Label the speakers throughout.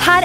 Speaker 1: her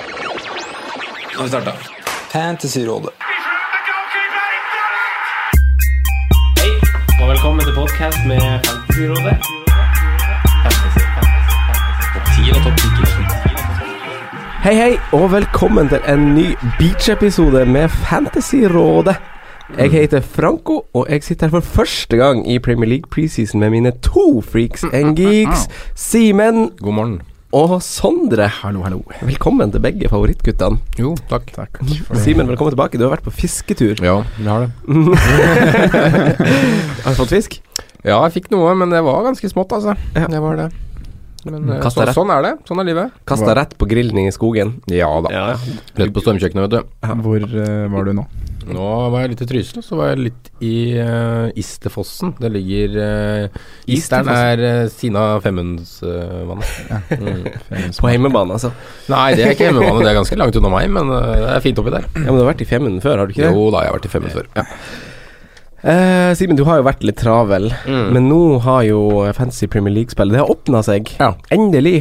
Speaker 2: Nå har vi starta. Fantasyrådet.
Speaker 3: Hei, og velkommen til podcast med Fantasyrådet.
Speaker 4: Hei, hei, og velkommen til en ny beach-episode med Fantasyrådet. Jeg heter Franco, og jeg sitter her for første gang i Premier League preseason med mine to freaks and geeks, Simen
Speaker 2: God morgen.
Speaker 4: og Sondre.
Speaker 2: Hallo, hallo.
Speaker 4: Velkommen til begge favorittguttene.
Speaker 2: Jo, takk.
Speaker 4: Simen, velkommen tilbake. Du har vært på fisketur.
Speaker 2: Ja, vi har det.
Speaker 4: Har du fått fisk?
Speaker 2: Ja, jeg fikk noe, men det var ganske smått, altså. Det var det. Men eh,
Speaker 4: Kast
Speaker 2: så,
Speaker 4: deg.
Speaker 2: sånn er det. Sånn er livet.
Speaker 4: Kasta rett på grillen i skogen.
Speaker 2: Ja da. Løp på stormkjøkkenet, vet du.
Speaker 5: Hvor eh, var du nå?
Speaker 2: Nå var jeg litt i Trysil, og så var jeg litt i eh, Isterfossen. Det ligger uh, Isteren er eh, Sina Femundsvannet.
Speaker 4: På hjemmebane, altså.
Speaker 2: Mm. Nei, det er ikke hjemmebane, det er ganske langt unna meg, men eh, det er fint oppi der.
Speaker 4: Ja, Men du har vært i Femund før, har du ikke det?
Speaker 2: Jo da, jeg har vært i Femund før. Ja.
Speaker 4: Eh, Simen, du har jo vært litt travel,
Speaker 2: Mm.
Speaker 4: men nå har jo Fantasy Premier League-spillet Det har åpna seg.
Speaker 2: Ja. Mm.
Speaker 4: Endelig.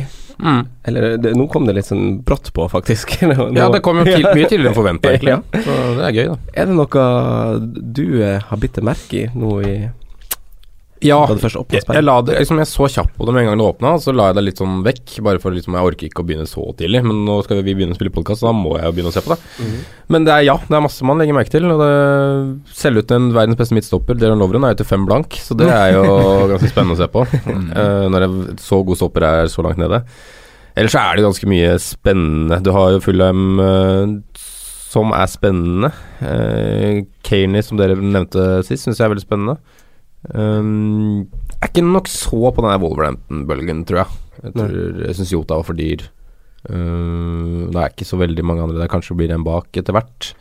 Speaker 4: Eller det, nå kom det litt sånn brått på, faktisk. Nå-
Speaker 2: Ja, det kom jo til, mye tidligere enn forventa, egentlig.
Speaker 4: Ja.
Speaker 2: Så det er gøy, da.
Speaker 4: Er det noe du eh, har bitt deg merke i nå i
Speaker 2: Ja,
Speaker 4: da det første åpna
Speaker 2: jeg, jeg, la det, liksom, jeg så kjapt på det med en gang det åpna, så la jeg det litt sånn vekk. Bare for liksom, jeg orker ikke å begynne så tidlig, men nå skal vi begynne å spille podkast, da må jeg jo begynne å se på det. Men det er ja, det er masse man legger merke til. Og det Selge ut en verdens beste midtstopper, Deron Lovren, er jo til fem blank, så det er jo ganske spennende å se på. eh, når en så god stopper er så langt nede. Ellers så er det jo ganske mye spennende. Du har jo Fulham eh, som er spennende. Uh, Kaney, som dere nevnte sist, syns jeg er veldig spennende. Um, jeg er ikke nok så på den der Wolverhampton-bølgen, tror jeg. Jeg, tror- jeg syns Jota var for dyr. Uh, det er ikke så veldig mange andre der. Kanskje blir det en bak etter hvert.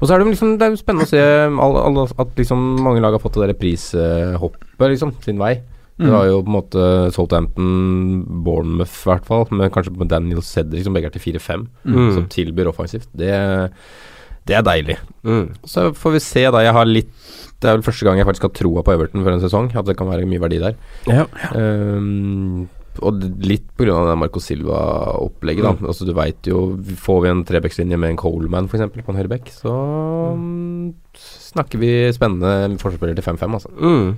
Speaker 2: Og så er det, jo liksom, det er jo spennende å se all, all, at liksom mange lag har fått det der prishoppet liksom, sin vei. Det var jo på en måte Southampton, Bournemouth i hvert fall, men kanskje med Daniel Cedric, som begge er til 4-5, som tilbyr offensivt. Det, det er deilig. Så får vi se, da. Jeg har litt Det er vel første gang jeg faktisk har troa på Everton for en sesong. At det kan være mye verdi der.
Speaker 4: Ja.
Speaker 2: Ehm, og d- litt pga. det Marco Silva-opplegget, da. Altså, du veit jo Får vi en trebekslinje med en Coleman, f.eks., på en høyrebekk, så mm, snakker vi spennende forspiller til 5-5, altså.
Speaker 4: Mm.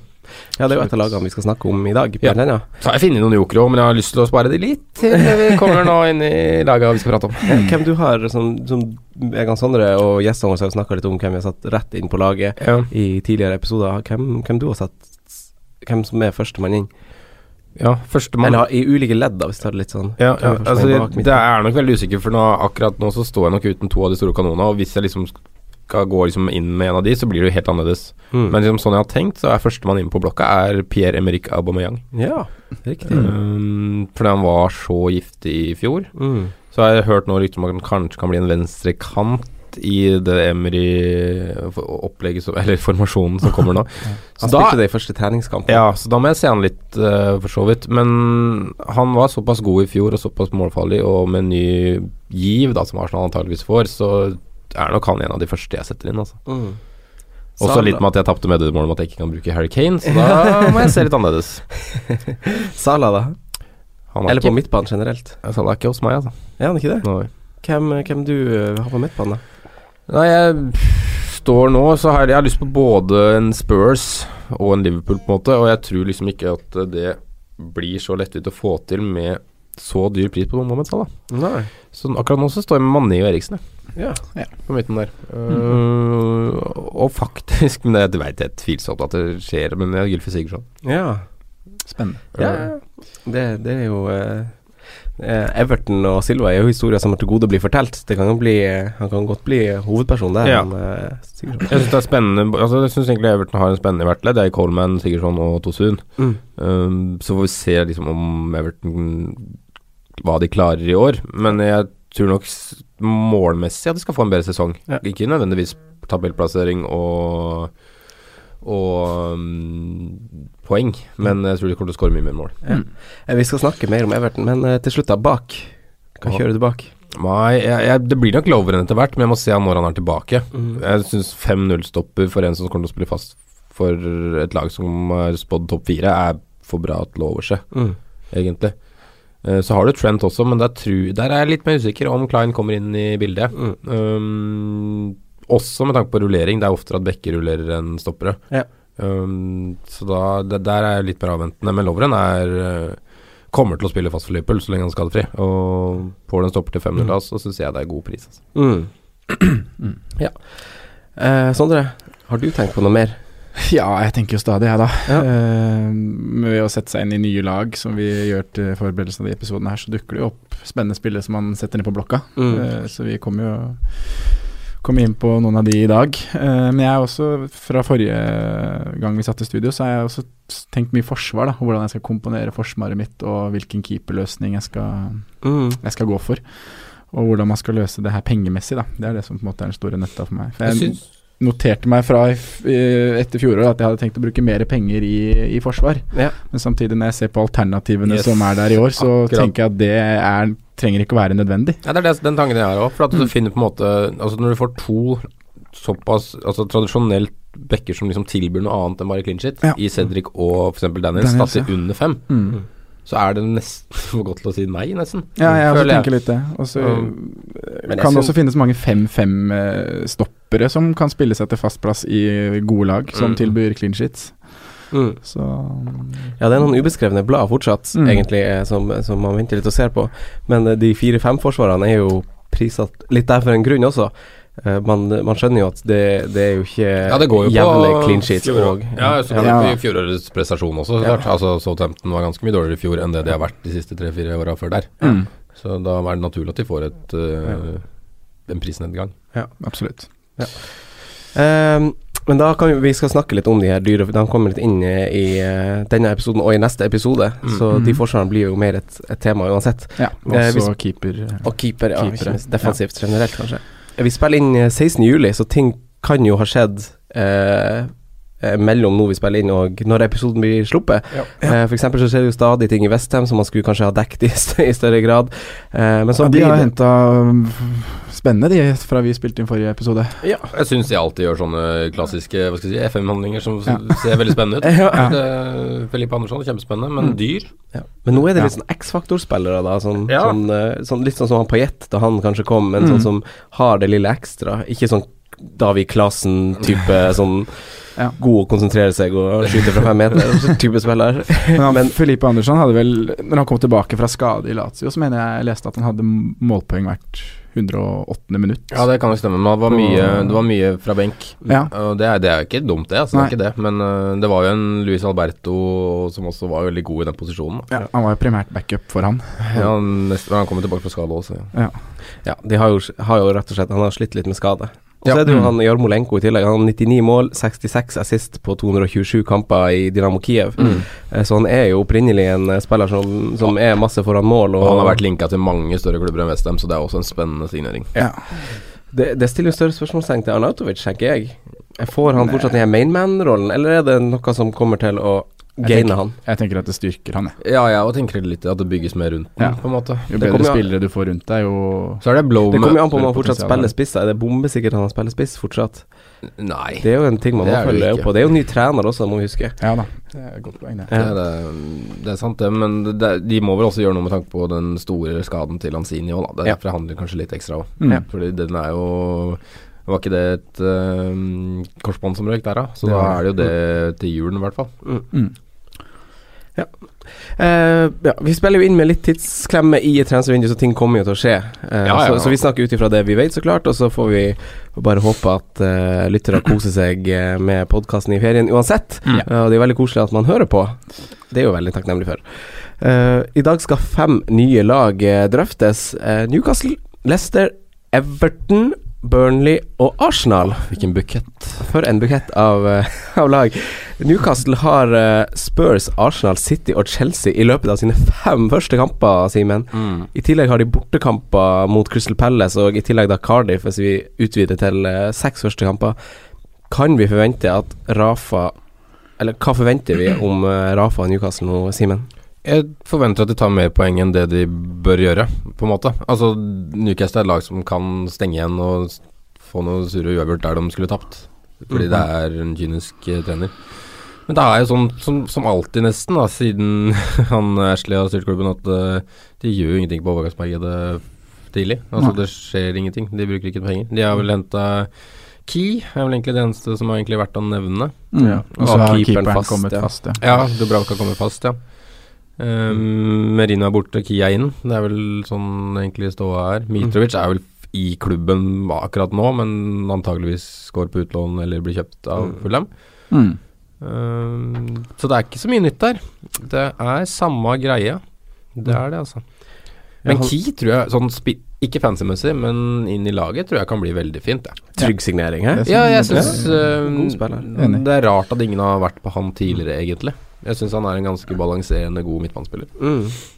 Speaker 4: Ja, det er jo et av lagene vi skal snakke om i dag.
Speaker 2: Ja.
Speaker 4: blant annet.
Speaker 2: Så har jeg funnet noen jokere òg, men jeg har lyst til å spare de litt til vi kommer nå inn i laget vi skal prate om.
Speaker 4: Eh, Hvem du har som, som jeg og Sondre og gjestene våre har snakka litt om hvem vi har satt rett inn på laget
Speaker 2: Ja.
Speaker 4: i tidligere episoder. Hvem, hvem du har satt Hvem som er førstemann inn?
Speaker 2: Ja, førstemann.
Speaker 4: Eller i ulike ledd, da, hvis du tar det litt sånn.
Speaker 2: Ja,
Speaker 4: Hvem
Speaker 2: ja
Speaker 4: er
Speaker 2: altså,
Speaker 4: førstemann
Speaker 2: jeg,
Speaker 4: bak, midten?
Speaker 2: det er nok veldig usikker, for nå, akkurat nå så står jeg nok uten to av de store kanonene, og hvis jeg liksom skal gå liksom inn med en av de, så blir det jo helt annerledes.
Speaker 4: Mm.
Speaker 2: Men liksom sånn jeg har tenkt, så er førstemann inn på blokka er Pierre-Emerick Aubameyang.
Speaker 4: Ja, riktig.
Speaker 2: Um, fordi han var så giftig i fjor.
Speaker 4: Mm.
Speaker 2: Så har jeg hørt nå rykter om at han kanskje kan bli en venstrekant i det Emry-opplegget, som- eller formasjonen som kommer nå. Så
Speaker 4: Han
Speaker 2: da-
Speaker 4: spilte det i første treningskamp.
Speaker 2: ja, så da må jeg se han litt, eh, for så vidt. Men han var såpass god i fjor og såpass målfarlig, og med ny giv, da, som Arsenal antageligvis får, så er nok han en av de første jeg setter inn, altså.
Speaker 4: Mm.
Speaker 2: Og så
Speaker 4: Sala.
Speaker 2: litt med at jeg tapte medlemmålet med at jeg ikke kan bruke Harry Kane, så da må jeg se litt annerledes.
Speaker 4: Sala, da?
Speaker 2: Han er
Speaker 4: Eller på
Speaker 2: ikke,
Speaker 4: midtbanen generelt?
Speaker 2: så han er ikke hos meg, altså.
Speaker 4: Er han ikke det?
Speaker 2: Nei.
Speaker 4: Hvem, hvem du eh, har på midtbanen, da?
Speaker 2: Nei, jeg står nå Så har jeg, jeg har lyst på både en Spurs og en Liverpool på en måte Og jeg tror liksom ikke at det blir så lettvint å få til Med så dyr pris på Mohamed Salah
Speaker 4: Nei.
Speaker 2: Så Sånn, akkurat nå så står jeg med Mané og Eriksen jeg,
Speaker 4: Ja.
Speaker 2: På midten der Eh, Og faktisk faktisk. Men det, det veit jeg er tvilsomt at det skjer. Men ja, Gylfi Eh, Sigurdsson.
Speaker 4: Ja.
Speaker 5: Spennende.
Speaker 4: Ja, ja, ja. det, det er jo eh, eh, Everton og Silva er jo historier som er til gode å bli fortalt. Det kan jo bli, eh, han kan godt bli hovedperson der.
Speaker 2: Ja.
Speaker 4: Men, eh, Sigurdsson.
Speaker 2: Jeg syns det er spennende Altså jeg synes egentlig Everton har en spennende i hvert ledd. Det er Coleman, Sigurdsson og Tosun.
Speaker 4: Mm.
Speaker 2: Um, så får vi se liksom om Everton hva de klarer i år. Men jeg tror nok s- målmessig at de skal få en bedre sesong.
Speaker 4: Ja.
Speaker 2: Ikke nødvendigvis tabellplassering og og um, poeng,
Speaker 4: Mm.
Speaker 2: men jeg tror de kommer til å skåre mye mer mål.
Speaker 4: Eh, vi skal snakke mer om Everton, men eh, til slutt, da. Bak. Hva
Speaker 2: Ja.
Speaker 4: kjører du bak?
Speaker 2: Nei, jeg, jeg, det blir nok Lovren etter hvert, men jeg må se han når han er tilbake.
Speaker 4: Mm.
Speaker 2: Jeg syns 5-0-stopper for en som kommer til å spille fast for et lag som er spådd topp fire, er for bra til å overse,
Speaker 4: Mm.
Speaker 2: egentlig. Eh, Så har du Trent også, men der, tru, der er jeg litt mer usikker om Klein kommer inn i bildet.
Speaker 4: Mm.
Speaker 2: Um, også med tanke på rullering, det er oftere at bekker rullerer enn stoppere.
Speaker 4: Ja.
Speaker 2: Um, så da, det, der er jeg litt mer avventende. Men Lovren er eh, kommer til å spille fast for Liverpool så lenge han er skadefri. Og får den stopper til 500,
Speaker 5: Mm.
Speaker 2: da, så syns jeg det er god pris. Altså.
Speaker 4: Mm. ja. Eh, Sondre, har du tenkt på noe mer?
Speaker 5: Ja, jeg tenker jo stadig, jeg, da.
Speaker 4: Ja.
Speaker 5: Eh, med å sette seg inn i nye lag, som vi gjør til forberedelsen av de episodene her, så dukker det jo opp spennende spillere som man setter ned på blokka.
Speaker 4: Mm.
Speaker 5: Eh, så vi kommer jo kommer inn på noen av de i dag. Eh, men jeg er også, fra forrige gang vi satt i studio, så har jeg også s- tenkt mye forsvar, da. og Hvordan jeg skal komponere forsvaret mitt, og hvilken keeperløsning jeg skal
Speaker 4: Mm.
Speaker 5: jeg skal gå for. Og hvordan man skal løse det her pengemessig, da. Det er det som på en måte er den store nøtta for meg. For jeg,
Speaker 2: Jeg syns-
Speaker 5: noterte meg fra i f- eh, etter fjoråret at jeg hadde tenkt å bruke mer penger i, i forsvar.
Speaker 4: Ja.
Speaker 5: Men samtidig, når jeg ser på alternativene
Speaker 2: Yes.
Speaker 5: som er der i år, så
Speaker 2: Akkurat.
Speaker 5: tenker jeg at det er, trenger ikke å være nødvendig.
Speaker 2: Ja, det er det, den tanken jeg har òg. For at
Speaker 5: Mm.
Speaker 2: du finner på en måte Altså Når du får to såpass Altså tradisjonelt backer som liksom tilbyr noe annet enn bare clean shit,
Speaker 5: Ja.
Speaker 2: i Cedric og f.eks. Daniels,
Speaker 5: Daniels,
Speaker 2: satt i under fem,
Speaker 5: Mm.
Speaker 2: så er det nesten for godt til å si nei, nesten.
Speaker 5: Ja, jeg også
Speaker 2: Føler jeg.
Speaker 5: tenker litt det. Og så
Speaker 2: Um,
Speaker 4: men jeg
Speaker 5: kan det
Speaker 4: syns-
Speaker 5: også finnes mange 5-5-stoppere som kan spille seg til fast plass i gode lag, som
Speaker 2: Mm.
Speaker 5: tilbyr clean sheets.
Speaker 4: Mm.
Speaker 5: Så
Speaker 4: Ja, det er noen ubeskrevne blad fortsatt,
Speaker 5: Mm.
Speaker 4: egentlig, eh, som, som man venter litt og ser på. Men eh, de fire-fem forsvarerne er jo prissatt litt der for en grunn også. Eh, Man, man skjønner jo at det, det er jo ikke
Speaker 2: Ja, det går jo
Speaker 4: jevne
Speaker 2: på
Speaker 4: clean sheets
Speaker 2: fjorå-
Speaker 4: og
Speaker 2: Ja, så kan
Speaker 5: Ja.
Speaker 2: vi fjorårets prestasjon også, så
Speaker 4: Ja.
Speaker 2: klart. Altså, Southampton var ganske mye dårligere i fjor enn det de har vært de siste tre-fire åra før der.
Speaker 5: Mm.
Speaker 2: Så da er det naturlig at de får et, øh, en prisnedgang.
Speaker 5: absolutt.
Speaker 4: Ehm, men da kan vi, vi skal snakke litt om de her dyre De kommer litt inn eh, i eh, denne episoden og i neste episode,
Speaker 2: Mm.
Speaker 4: så de forskjellene blir jo mer et, et tema uansett.
Speaker 5: Ja, og
Speaker 4: Eh, hvis-
Speaker 5: så keeper. eh,
Speaker 4: Og keeper, ja,
Speaker 5: Keepere.
Speaker 4: ikke minst defensivt generelt, kanskje. Vi spiller inn eh, 16. juli, så ting kan jo ha skjedd eh, eh, mellom nå vi spiller inn og når episoden blir sluppet. Eh, for eksempel så skjer det jo stadig ting i Westham som man skulle kanskje ha dekket i, st- i større grad. Eh, men så
Speaker 5: Ja, de
Speaker 4: blir
Speaker 5: har
Speaker 4: det-
Speaker 5: henta spennende, de, fra vi spilte inn forrige episode.
Speaker 2: Jeg syns de alltid gjør sånne klassiske hva skal jeg si, FM-handlinger som
Speaker 5: Ja.
Speaker 2: ser veldig spennende ut.
Speaker 4: Ja.
Speaker 2: Det- Felipe Andersson, kjempespennende, men dyr.
Speaker 4: Ja. Men nå er det
Speaker 5: Ja.
Speaker 4: litt sånn X-faktor-spillere, da. Sånn,
Speaker 2: Ja.
Speaker 4: sånn, eh, sånn, litt sånn som han Pajett da han kanskje kom, men sånn som har det lille ekstra. Ikke sånn David Klasen-type sånn
Speaker 5: Ja.
Speaker 4: god å konsentrere seg og skyte fra fem meter type spiller.
Speaker 5: Men, han,
Speaker 4: Men-
Speaker 5: Felipe Andersson hadde vel Når han kom tilbake fra skade i Lazio, så mener jeg jeg leste at han hadde målpoeng hvert 108. minutt.
Speaker 2: Ja, det kan jo stemme, men det var mye, det var mye fra benk.
Speaker 5: Ja.
Speaker 2: Og det er, det er jo ikke dumt, det. Altså, det er ikke det. Men øh, det var jo en Luis Alberto som også var veldig god i den posisjonen. Da.
Speaker 5: Ja, Han var jo primært backup for han.
Speaker 2: Ja, nesten, han kommer tilbake fra skade også. Ja.
Speaker 4: Ja, de har jo, har jo rett og slett Han har slitt litt med skade. Og så
Speaker 2: Ja. Mm.
Speaker 4: er det jo han Jarmolenko i tillegg. Han har 99 mål, 66 assist på 227 kamper i Dynamo Kiev.
Speaker 2: Mm.
Speaker 4: Eh, Så han er jo opprinnelig en eh, spiller som, som er masse foran mål.
Speaker 2: Og han har vært linka til mange større klubber enn Westham, så det er også en spennende signering.
Speaker 4: Det, det stiller jo større spørsmålstegn til Arnautovic, tenker jeg. Jeg Får han fortsatt den her mainman-rollen, eller er det noe som kommer til å
Speaker 5: Jeg
Speaker 4: gaine
Speaker 5: tenker,
Speaker 4: han?
Speaker 5: jeg tenker at det styrker han, jeg.
Speaker 2: Ja, jeg òg tenker litt at det bygges mer rundt den,
Speaker 5: Ja.
Speaker 2: på en måte.
Speaker 5: Jo
Speaker 4: Det
Speaker 5: bedre
Speaker 4: kommer jo-
Speaker 5: spillere du får rundt deg, jo
Speaker 2: Så er det blow
Speaker 4: Det kommer jo an på om han
Speaker 5: større
Speaker 4: fortsatt
Speaker 5: potensial,
Speaker 4: spiller
Speaker 5: ja.
Speaker 4: spiss. da. Er det bombesikkert han spiller spiss fortsatt?
Speaker 2: Nei.
Speaker 4: Det er jo en ting man
Speaker 2: Det
Speaker 4: må
Speaker 2: er det
Speaker 4: følge
Speaker 2: ikke.
Speaker 4: opp på. Det er jo ny trener også, må vi huske.
Speaker 5: Ja da, det er et godt poeng, det.
Speaker 2: Det er, det, det er sant, det, men det, det- de må vel også gjøre noe med tanke på den store skaden til Lanzini òg, da. Det
Speaker 4: Ja.
Speaker 2: derfor handler kanskje litt ekstra òg.
Speaker 5: Mm. Ja.
Speaker 2: Fordi den er jo Var ikke det et eh, korsbånd som røyk der, da? Så
Speaker 5: Det
Speaker 2: da
Speaker 4: Mm.
Speaker 5: var
Speaker 2: er det jo det til julen, i hvert fall.
Speaker 5: Mm.
Speaker 4: Ja. Eh, ja, vi spiller jo inn med litt tidsklemme i et transfervindu, så ting kommer jo til å skje. Eh,
Speaker 2: Ja, ja, ja.
Speaker 4: Så, så vi snakker ut ifra det vi vet, så klart, og så får vi bare håpe at eh, lyttere koser seg eh, med podkasten i ferien uansett.
Speaker 2: Mm.
Speaker 4: Eh, og det er veldig koselig at man hører på. Det er jo veldig takknemlig for. Eh, I dag skal fem nye lag eh, drøftes. Eh, Newcastle, Leicester, Everton, Burnley og Arsenal.
Speaker 2: Hvilken bukett.
Speaker 4: For en bukett av, eh, av lag. Newcastle har eh, Spurs, Arsenal, City og Chelsea i løpet av sine fem første kamper, Simen. I tillegg har de bortekamper mot Crystal Palace og i tillegg da Cardiff, hvis vi utvider til eh, seks første kamper. Kan vi forvente at Rafa Eller hva forventer vi om eh, Rafa og Newcastle nå, Simen?
Speaker 2: Jeg forventer at de tar mer poeng enn det de bør gjøre, på en måte. Altså, Newcastle er et lag som kan stenge igjen og s- få noe sure uavgjort der de skulle tapt. Fordi
Speaker 4: Mhm.
Speaker 2: det er en kynisk eh, trener. Men det er jo sånn som, som alltid, nesten, da, siden han Ashley har styrt klubben, at eh, de gjør jo ingenting på overgangsmarkedet tidlig. Altså,
Speaker 5: Nei.
Speaker 2: det skjer ingenting. De bruker ikke penger. De har vel henta Key, er vel egentlig det eneste som har egentlig vært å nevne.
Speaker 5: Mm, ja. Og så
Speaker 2: Ah,
Speaker 5: har keeperen kommet
Speaker 2: ja.
Speaker 5: fast, ja.
Speaker 2: Ja, Dubravka kommer fast, ja. Um, Merino er borte, Kia er inn. Det er vel sånn egentlig ståa er. Mitrovic er vel f- i klubben akkurat nå, men antageligvis går på utlån eller blir kjøpt av
Speaker 4: Mm.
Speaker 2: Fulham.
Speaker 5: Mm.
Speaker 2: Um, så det er ikke så mye nytt der. Det er samme greie. Det er det, altså. Men
Speaker 4: han-
Speaker 2: Key tror jeg, sånn spi ikke fancy-messig, men inn i laget tror jeg kan bli veldig fint. Jeg.
Speaker 4: Trygg signering her.
Speaker 5: Jeg
Speaker 2: Ja, jeg
Speaker 5: synes-
Speaker 2: syns
Speaker 4: God spiller.
Speaker 5: Enig.
Speaker 2: Det er rart at ingen har vært på han tidligere, egentlig. Jeg syns han er en ganske balanserende god midtbanespiller.
Speaker 4: Mm.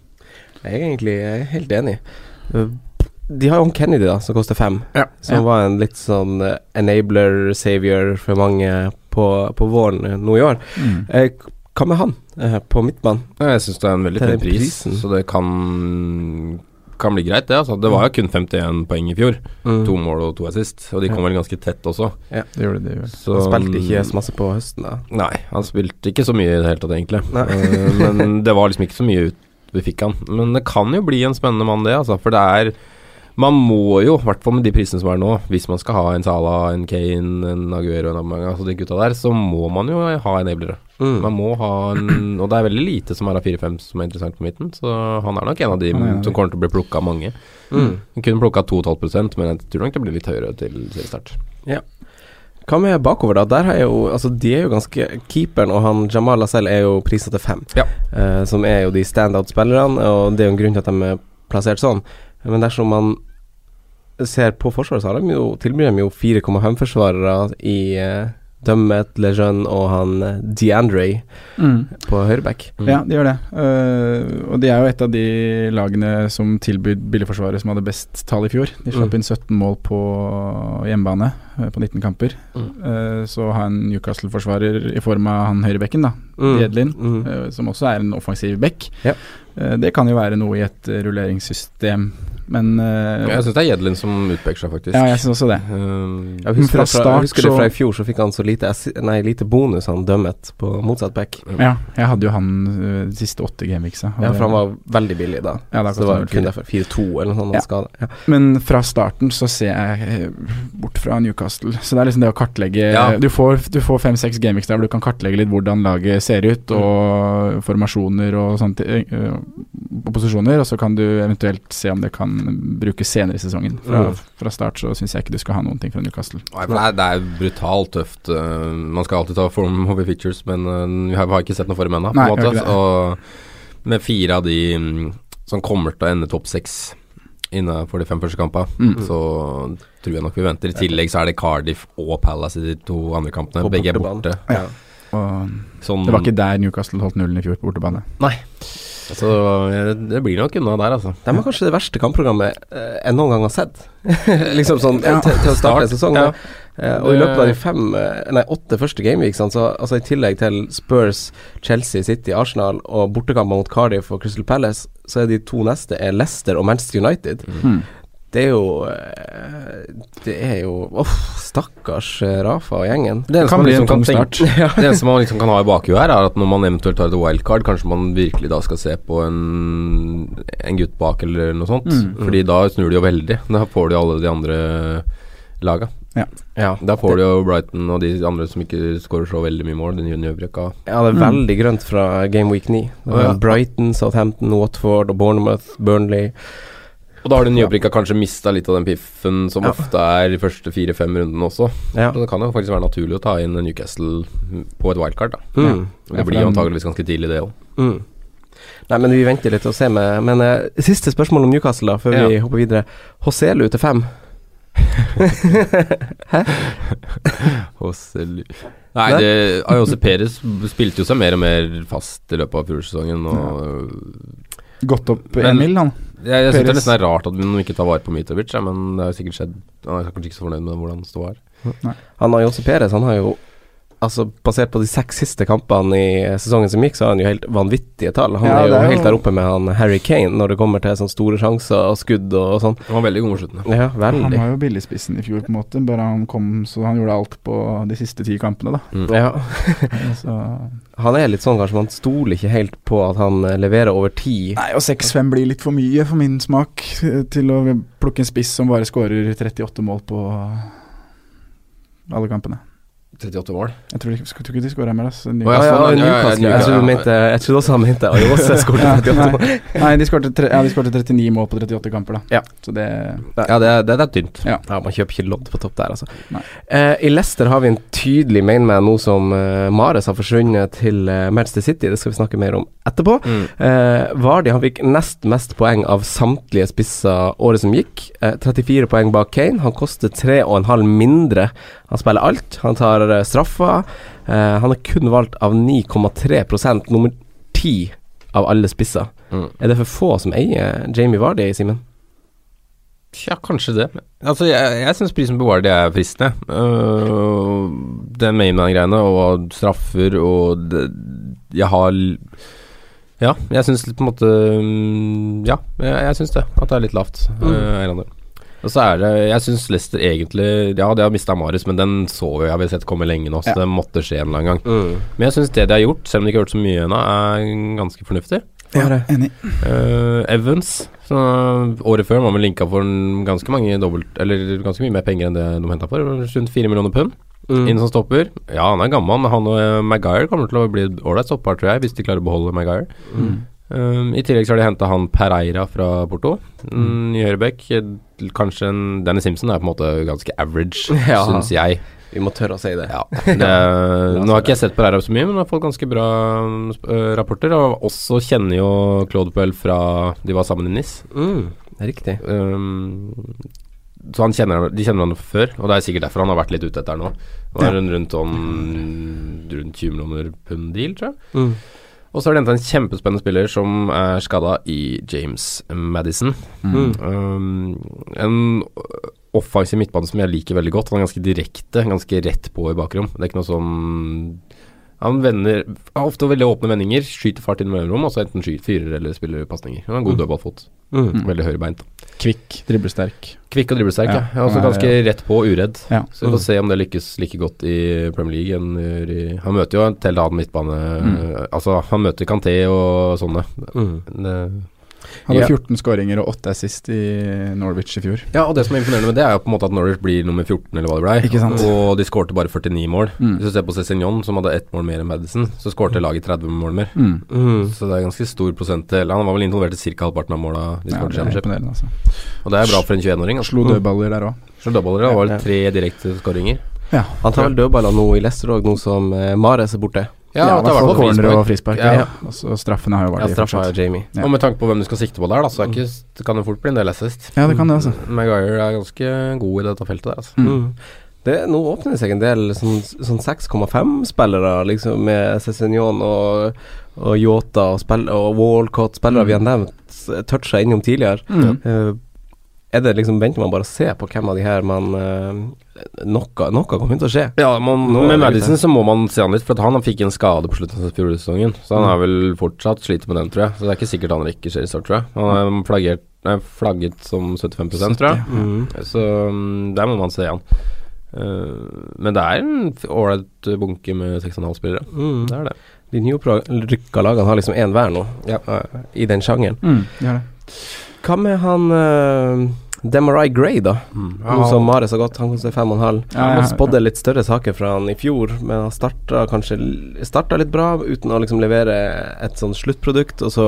Speaker 4: Jeg er egentlig eh, helt enig. Uh, De har jo han Kennedy, da, som koster fem.
Speaker 5: Ja.
Speaker 4: Som
Speaker 5: Ja.
Speaker 4: var en litt sånn eh, enabler, savior for mange på, på våren eh, nå i år.
Speaker 5: Mm.
Speaker 4: Eh, k- Hva med han eh, på midtbanen?
Speaker 2: Jeg syns det er en veldig
Speaker 4: Til den
Speaker 2: fin pris,
Speaker 4: prisen.
Speaker 2: så det kan kan bli greit, det. altså Det var jo kun 51 poeng i fjor.
Speaker 4: Mm.
Speaker 2: To mål og to assist. Og de kom
Speaker 4: Ja.
Speaker 2: vel ganske tett også.
Speaker 5: Det gjorde det jo.
Speaker 2: Så,
Speaker 4: Han spilte ikke så masse på høsten, da.
Speaker 2: Nei, han spilte ikke så mye i det hele tatt, egentlig.
Speaker 4: Nei.
Speaker 2: Eh, Men det var liksom ikke så mye ut vi fikk han. Men det kan jo bli en spennende mann, det, altså. For det er Man må jo, i hvert fall med de prisene som er nå, hvis man skal ha en Salah, en Kane, en Aguero, en Abamanga, altså de gutta der, så må man jo ha enablere.
Speaker 4: Mm.
Speaker 2: Man må ha en Og det er veldig lite som er av 4-5 som er interessant på midten, så han er nok en av de
Speaker 5: Han er en av de.
Speaker 2: som kommer til å bli plukka av mange.
Speaker 4: Mm.
Speaker 2: Han kunne plukka 2,5 men jeg tror nok det blir litt høyere til seriestart.
Speaker 4: Hva med bakover, da? Der har jeg jo Altså, de er jo ganske Keeperen og han Jamal Lascelles er jo prisa til fem,
Speaker 2: Ja.
Speaker 4: eh, som er jo de standout-spillerne, og det er jo en grunn til at de er plassert sånn. Men dersom man ser på Forsvaret, så har de jo, tilbyr de jo 4,5 forsvarere i eh, Dummet, Lejeune og han eh, DeAndre
Speaker 5: Mm.
Speaker 4: på høyreback.
Speaker 5: Ja, de gjør det. Eh, og de er jo et av de lagene som tilbød billigforsvaret som hadde best tall i fjor. De slapp
Speaker 4: Mm.
Speaker 5: inn 17 mål på hjemmebane eh, på 19 kamper.
Speaker 2: Mm.
Speaker 5: Eh, så har en Newcastle-forsvarer i form av han høyrebekken, da,
Speaker 4: Mm.
Speaker 5: Jedlin,
Speaker 4: Mm.
Speaker 5: eh, som også er en offensiv bekk.
Speaker 4: Ja.
Speaker 5: Eh, det kan jo være noe i et eh, rulleringssystem, men eh,
Speaker 2: Jeg syns det er Jedlin som utpeker seg, faktisk.
Speaker 5: Ja, jeg syns også det.
Speaker 2: Eh,
Speaker 4: Um, Jeg
Speaker 5: Men
Speaker 4: husker,
Speaker 5: fra
Speaker 4: det fra,
Speaker 5: start
Speaker 4: jeg husker det
Speaker 5: så-
Speaker 4: fra i fjor, så fikk han så lite, assi- nei, lite bonus, han Dummet, på motsatt back.
Speaker 5: Ja, jeg hadde jo han eh, de siste åtte gameweeksa.
Speaker 4: Ja, for han var veldig billig da.
Speaker 5: Ja, det
Speaker 4: så Eh,
Speaker 5: er
Speaker 4: det var
Speaker 5: akkurat
Speaker 4: kun derfor. 4-2 eller noe sånt.
Speaker 5: Ja.
Speaker 4: han Skade. Ja.
Speaker 5: Men fra starten så ser jeg eh, bort fra Newcastle. Så det er liksom det å kartlegge
Speaker 2: Ja.
Speaker 5: Du får, du får fem-seks gameweeks der hvor du kan kartlegge litt hvordan laget ser ut, og formasjoner og sånt, eh, eh, og posisjoner, og så kan du eventuelt se om det kan brukes senere i sesongen. Fra,
Speaker 4: Mm.
Speaker 5: fra start så syns jeg ikke du skal ha noen ting fra Newcastle.
Speaker 2: Nei, for det er, det er brutalt tøft. eh, man skal alltid ta form over features, men eh, vi har, har ikke sett noe form ennå. på
Speaker 5: Nei, jeg
Speaker 2: en
Speaker 5: har
Speaker 2: måte.
Speaker 5: ikke det.
Speaker 2: Og med fire av de mm, som kommer til å ende topp seks innenfor de fem første kampene,
Speaker 5: Mm.
Speaker 2: så tror jeg nok vi venter. I tillegg så er det Cardiff og Palace i de to andre kampene.
Speaker 4: På
Speaker 2: Begge er
Speaker 4: bortebane.
Speaker 2: borte.
Speaker 5: Ja. Og
Speaker 2: Sånn,
Speaker 5: det var ikke der Newcastle holdt nullen i fjor på bortebane.
Speaker 2: Så eh, det blir nok unna der, altså.
Speaker 4: De har kanskje det verste kampprogrammet eh, jeg noen gang har sett. liksom sånn eh,
Speaker 5: Ja.
Speaker 4: til, til å starte en sesong.
Speaker 2: Ja.
Speaker 4: Eh, og i løpet av de fem, eh, nei, åtte første gameweeksene, så altså, i tillegg til Spurs, Chelsea, City, Arsenal og bortekamper mot Cardiff og Crystal Palace, så er de to neste er Leicester og Manchester United.
Speaker 5: Mm.
Speaker 4: Det er jo eh, Det er jo Uff, stakkars eh, Rafa og gjengen.
Speaker 2: Det eneste
Speaker 5: kan
Speaker 2: man
Speaker 5: bli
Speaker 2: liksom
Speaker 5: en tung
Speaker 2: kan tenke-
Speaker 5: start.
Speaker 2: Det eneste man liksom kan ha i bakhuet her, er at når man eventuelt tar et wildcard, kanskje man virkelig da skal se på en, en gutt
Speaker 4: Mm.
Speaker 2: bak eller noe sånt. Fordi da snur de jo veldig. Da får de alle de andre laga.
Speaker 5: Ja.
Speaker 2: Der får du jo Brighton og de andre som ikke skårer så veldig mye mål. Den juniorbrøkka.
Speaker 4: Ja, det er veldig grønt fra Game Week 9. Det
Speaker 2: Å,
Speaker 4: var
Speaker 2: ja.
Speaker 4: Brighton, Southampton, Watford og Bournemouth, Burnley.
Speaker 2: Og da har den nyopprykka kanskje mista litt av den piffen som
Speaker 4: Ja.
Speaker 2: ofte er de første fire-fem rundene også.
Speaker 4: Ja.
Speaker 2: Så det kan jo faktisk være naturlig å ta inn Newcastle på et wildcard, da.
Speaker 4: Mm.
Speaker 2: Ja.
Speaker 4: Ja,
Speaker 2: Det
Speaker 4: for
Speaker 2: blir jo
Speaker 4: den-
Speaker 2: antageligvis ganske tidlig, det òg.
Speaker 4: Mm. Nei, men vi venter litt og ser med Men eh, siste spørsmål om Newcastle, da, før vi
Speaker 2: Ja.
Speaker 4: hopper videre. Hoselu til fem.
Speaker 2: Nei,
Speaker 4: Nei.
Speaker 2: det, Ayose Perez spilte jo seg mer og mer fast i løpet av fjorårssesongen.
Speaker 5: Gått opp
Speaker 2: Men-
Speaker 5: en mil, han.
Speaker 2: Jeg, jeg syns det er
Speaker 5: Perez.
Speaker 2: nesten er rart at man ikke tar vare på Mitrovic, ja, men det har jo sikkert skjedd. Han er kanskje ikke så fornøyd med hvordan det står her.
Speaker 4: Han har jo også Perez, han har jo Altså, basert på de seks siste kampene i sesongen som gikk, så har han jo helt vanvittige tall. Han
Speaker 5: Ja,
Speaker 4: er, jo
Speaker 5: det er jo-
Speaker 4: helt der oppe med han Harry Kane når det kommer til sånne store sjanser og skudd og sånn.
Speaker 2: Han var veldig god mot slutten. ja.
Speaker 4: Ja,
Speaker 5: Han
Speaker 4: veldig.
Speaker 5: var jo billigspissen i fjor, på en måte. Bare han kom så han gjorde alt på de siste ti kampene, da.
Speaker 4: Ja.
Speaker 5: Så
Speaker 4: Han er litt sånn kanskje, man stoler ikke helt på at han eh, leverer over tid.
Speaker 5: Nei, og 6-5 blir litt for mye for min smak eh, til å plukke en spiss som bare skårer 38 mål på alle kampene.
Speaker 2: 38 mål.
Speaker 5: Jeg tror, ikke- tror ikke de skårer mer. Altså.
Speaker 2: Å, ja, sånn, ja, ja,
Speaker 4: Newcastle.
Speaker 2: ja,
Speaker 4: Jeg trodde
Speaker 2: Newcastle, ja.
Speaker 4: du mente Jeg trodde også han mente Ayose skåret
Speaker 5: Ja,
Speaker 4: 38 mål.
Speaker 5: nei, nei, de skårte tre- ja, de skårte 39 mål på 38 kamper, da.
Speaker 4: Ja.
Speaker 5: Så det
Speaker 2: Ja, det, er- det, det er tynt.
Speaker 4: Ja, man kjøper ikke lodd på topp der, altså.
Speaker 5: Nei.
Speaker 4: Eh, I Leicester har vi en tydelig mainman nå som eh, Mares har forsvunnet til eh, Manchester City. Det skal vi snakke mer om etterpå.
Speaker 2: Mm.
Speaker 4: Eh, Vardy han fikk nest mest poeng av samtlige spisser året som gikk. Eh, 34 poeng bak Kane. Han koster 3,5 mindre. Han spiller alt. Han tar eh, straffa. Eh, han er kun valgt av 9,3 nummer 10 av alle spisser.
Speaker 2: Mm.
Speaker 4: Er det for få som eier Jamie Vardy, Simen?
Speaker 2: Ja, kanskje det. Altså, jeg, jeg syns prisen på Wardy er fristende. Uh, den mainman-greiene og straffer og det, Jeg har l- Ja, jeg syns på en måte mm, Ja, jeg, jeg syns det. At det er litt lavt. uh, eierandel. og så er det Jeg syns Leicester egentlig Ja, det har mista Marius, men den så vi, har vi sett komme lenge nå, så det måtte skje en eller annen gang. Men jeg syns det de har gjort, selv om de ikke har gjort så mye ennå, er ganske fornuftig.
Speaker 5: ja, Enig.
Speaker 2: Eh, Evans så Året før var vel linka for en ganske mange dobbelt, Eller ganske mye mer penger enn det de henta for. Rundt fire millioner pund. Inn som stopper. Ja, han er gammel. men Han og eh, Maguire kommer til å bli ålreit stopper, tror jeg, hvis de klarer å beholde Maguire. Eh, I tillegg så har de henta han Pereira fra Porto. Mm, I høyrebekk eh, kanskje en Danny Simpson er på en måte ganske average,
Speaker 4: Ja.
Speaker 2: syns jeg.
Speaker 4: Vi må tørre å si det.
Speaker 2: Ja. Det, nå har ikke jeg sett på Rerav så mye, men jeg har fått ganske bra mm, sp- eh, rapporter. Og også kjenner jo Claude Puel fra de var sammen i NIS.
Speaker 4: Mm, riktig.
Speaker 2: Um, så han kjenner, de kjenner han før, og det er sikkert derfor han har vært litt ute etter nå. Det var en rundt, sånn, rundt 20 millioner pund deal, tror jeg.
Speaker 4: Mm.
Speaker 2: Og så har de henta en kjempespennende spiller som er skada i James Madison.
Speaker 4: Mm.
Speaker 2: Um, en offensiv midtbane som jeg liker veldig godt. Han er ganske direkte, ganske rett på i bakrom. Det er ikke noe sånn Han vender har ofte veldig åpne vendinger, skyter fart inn i mellomrom, og så enten skyter fyrer eller spiller pasninger. Han har
Speaker 4: Mm.
Speaker 2: god dødballfot. Veldig høyrebeint.
Speaker 5: Kvikk, driblesterk.
Speaker 2: Kvikk og driblesterk, ja.
Speaker 5: Ja. Mm.
Speaker 2: ja. Også
Speaker 5: Han er-
Speaker 2: ganske rett på og uredd.
Speaker 5: Ja.
Speaker 2: Så vi får se om det lykkes like godt i Premier League. enn gjør i- Han møter jo en til annen midtbane
Speaker 5: Mm.
Speaker 2: Altså, han møter Kanté og sånne. eh, Det-
Speaker 5: Hadde
Speaker 2: Ja.
Speaker 5: 14 skåringer og 8 assist i Norwich i fjor.
Speaker 2: Ja, og det som er imponerende med det, er jo på en måte at Norwich blir nummer 14, eller hva det blei.
Speaker 5: Ikke sant.
Speaker 2: Og de skårte bare 49 mål.
Speaker 5: Mm.
Speaker 2: Hvis du ser på Cézignon, som hadde ett mål mer enn Madison, så skårte laget 30 mål mer.
Speaker 5: Mm.
Speaker 2: Så det er ganske stor prosentdel. Han var vel involvert i ca. halvparten av måla de
Speaker 5: Ja,
Speaker 2: skårte i
Speaker 5: det er
Speaker 2: Championship.
Speaker 5: imponerende, altså.
Speaker 2: Og det er bra for en 21-åring. altså.
Speaker 5: Slo dødballer der òg.
Speaker 2: Slo dobbeltdere, og det var vel tre direkte skåringer.
Speaker 4: Han tar vel dødballer nå i Leicester òg, nå som eh, Mares er borte.
Speaker 2: Ja,
Speaker 5: i hvert
Speaker 2: det er
Speaker 5: fall
Speaker 2: i hvert fall
Speaker 5: corner
Speaker 2: frispark.
Speaker 5: og frispark.
Speaker 2: Ja.
Speaker 5: Ja. Og så straffene har jo vært
Speaker 4: Ja, straffa er Jamie.
Speaker 5: Ja.
Speaker 2: Og med tanke på hvem du skal sikte på der, da, så er ikke, det kan det fort bli en del assist. Mm,
Speaker 5: Ja, det Mm. kan det, altså.
Speaker 2: Maguire er ganske god i dette feltet der, altså.
Speaker 4: Mm. Det, nå åpner det seg en del sånn, sånn 6,5-spillere, liksom, med Cézignon og, og Yota og, spill, og Walcott, spillere vi har
Speaker 5: Mm.
Speaker 4: nevnt, toucha innom tidligere. Eh, er det liksom, Venter man bare å se på hvem av de her, men eh, noe, noe kommer til å skje.
Speaker 2: Ja, man,
Speaker 4: Nå er
Speaker 2: med
Speaker 4: det
Speaker 2: Madison
Speaker 4: litt-
Speaker 2: så må man se han litt, for at han fikk en skade på slutten av fjorårssesongen. Så han
Speaker 4: Mm.
Speaker 2: er vel fortsatt sliter med den, tror jeg. Så det er ikke sikkert han rekker seriestart, tror jeg. Han er flaggert, nei, flagget som 75 tror jeg. Så mm, der må man se han. Eh, men det er en f- ålreit bunke med 6,5 spillere. Det er det.
Speaker 4: Mm. De nyopprykka lagene har liksom én hver nå, eh, i den sjangeren.
Speaker 5: Mm, de har det.
Speaker 4: Hva med han eh, Demarai Gray, da.
Speaker 2: Ja.
Speaker 4: Nå som Mare så godt, han koster fem og en halv.
Speaker 2: Ja, ja,
Speaker 4: Man spådde litt større saker fra han i fjor, men han starta kanskje starta litt bra uten å liksom levere et sånn sluttprodukt, og så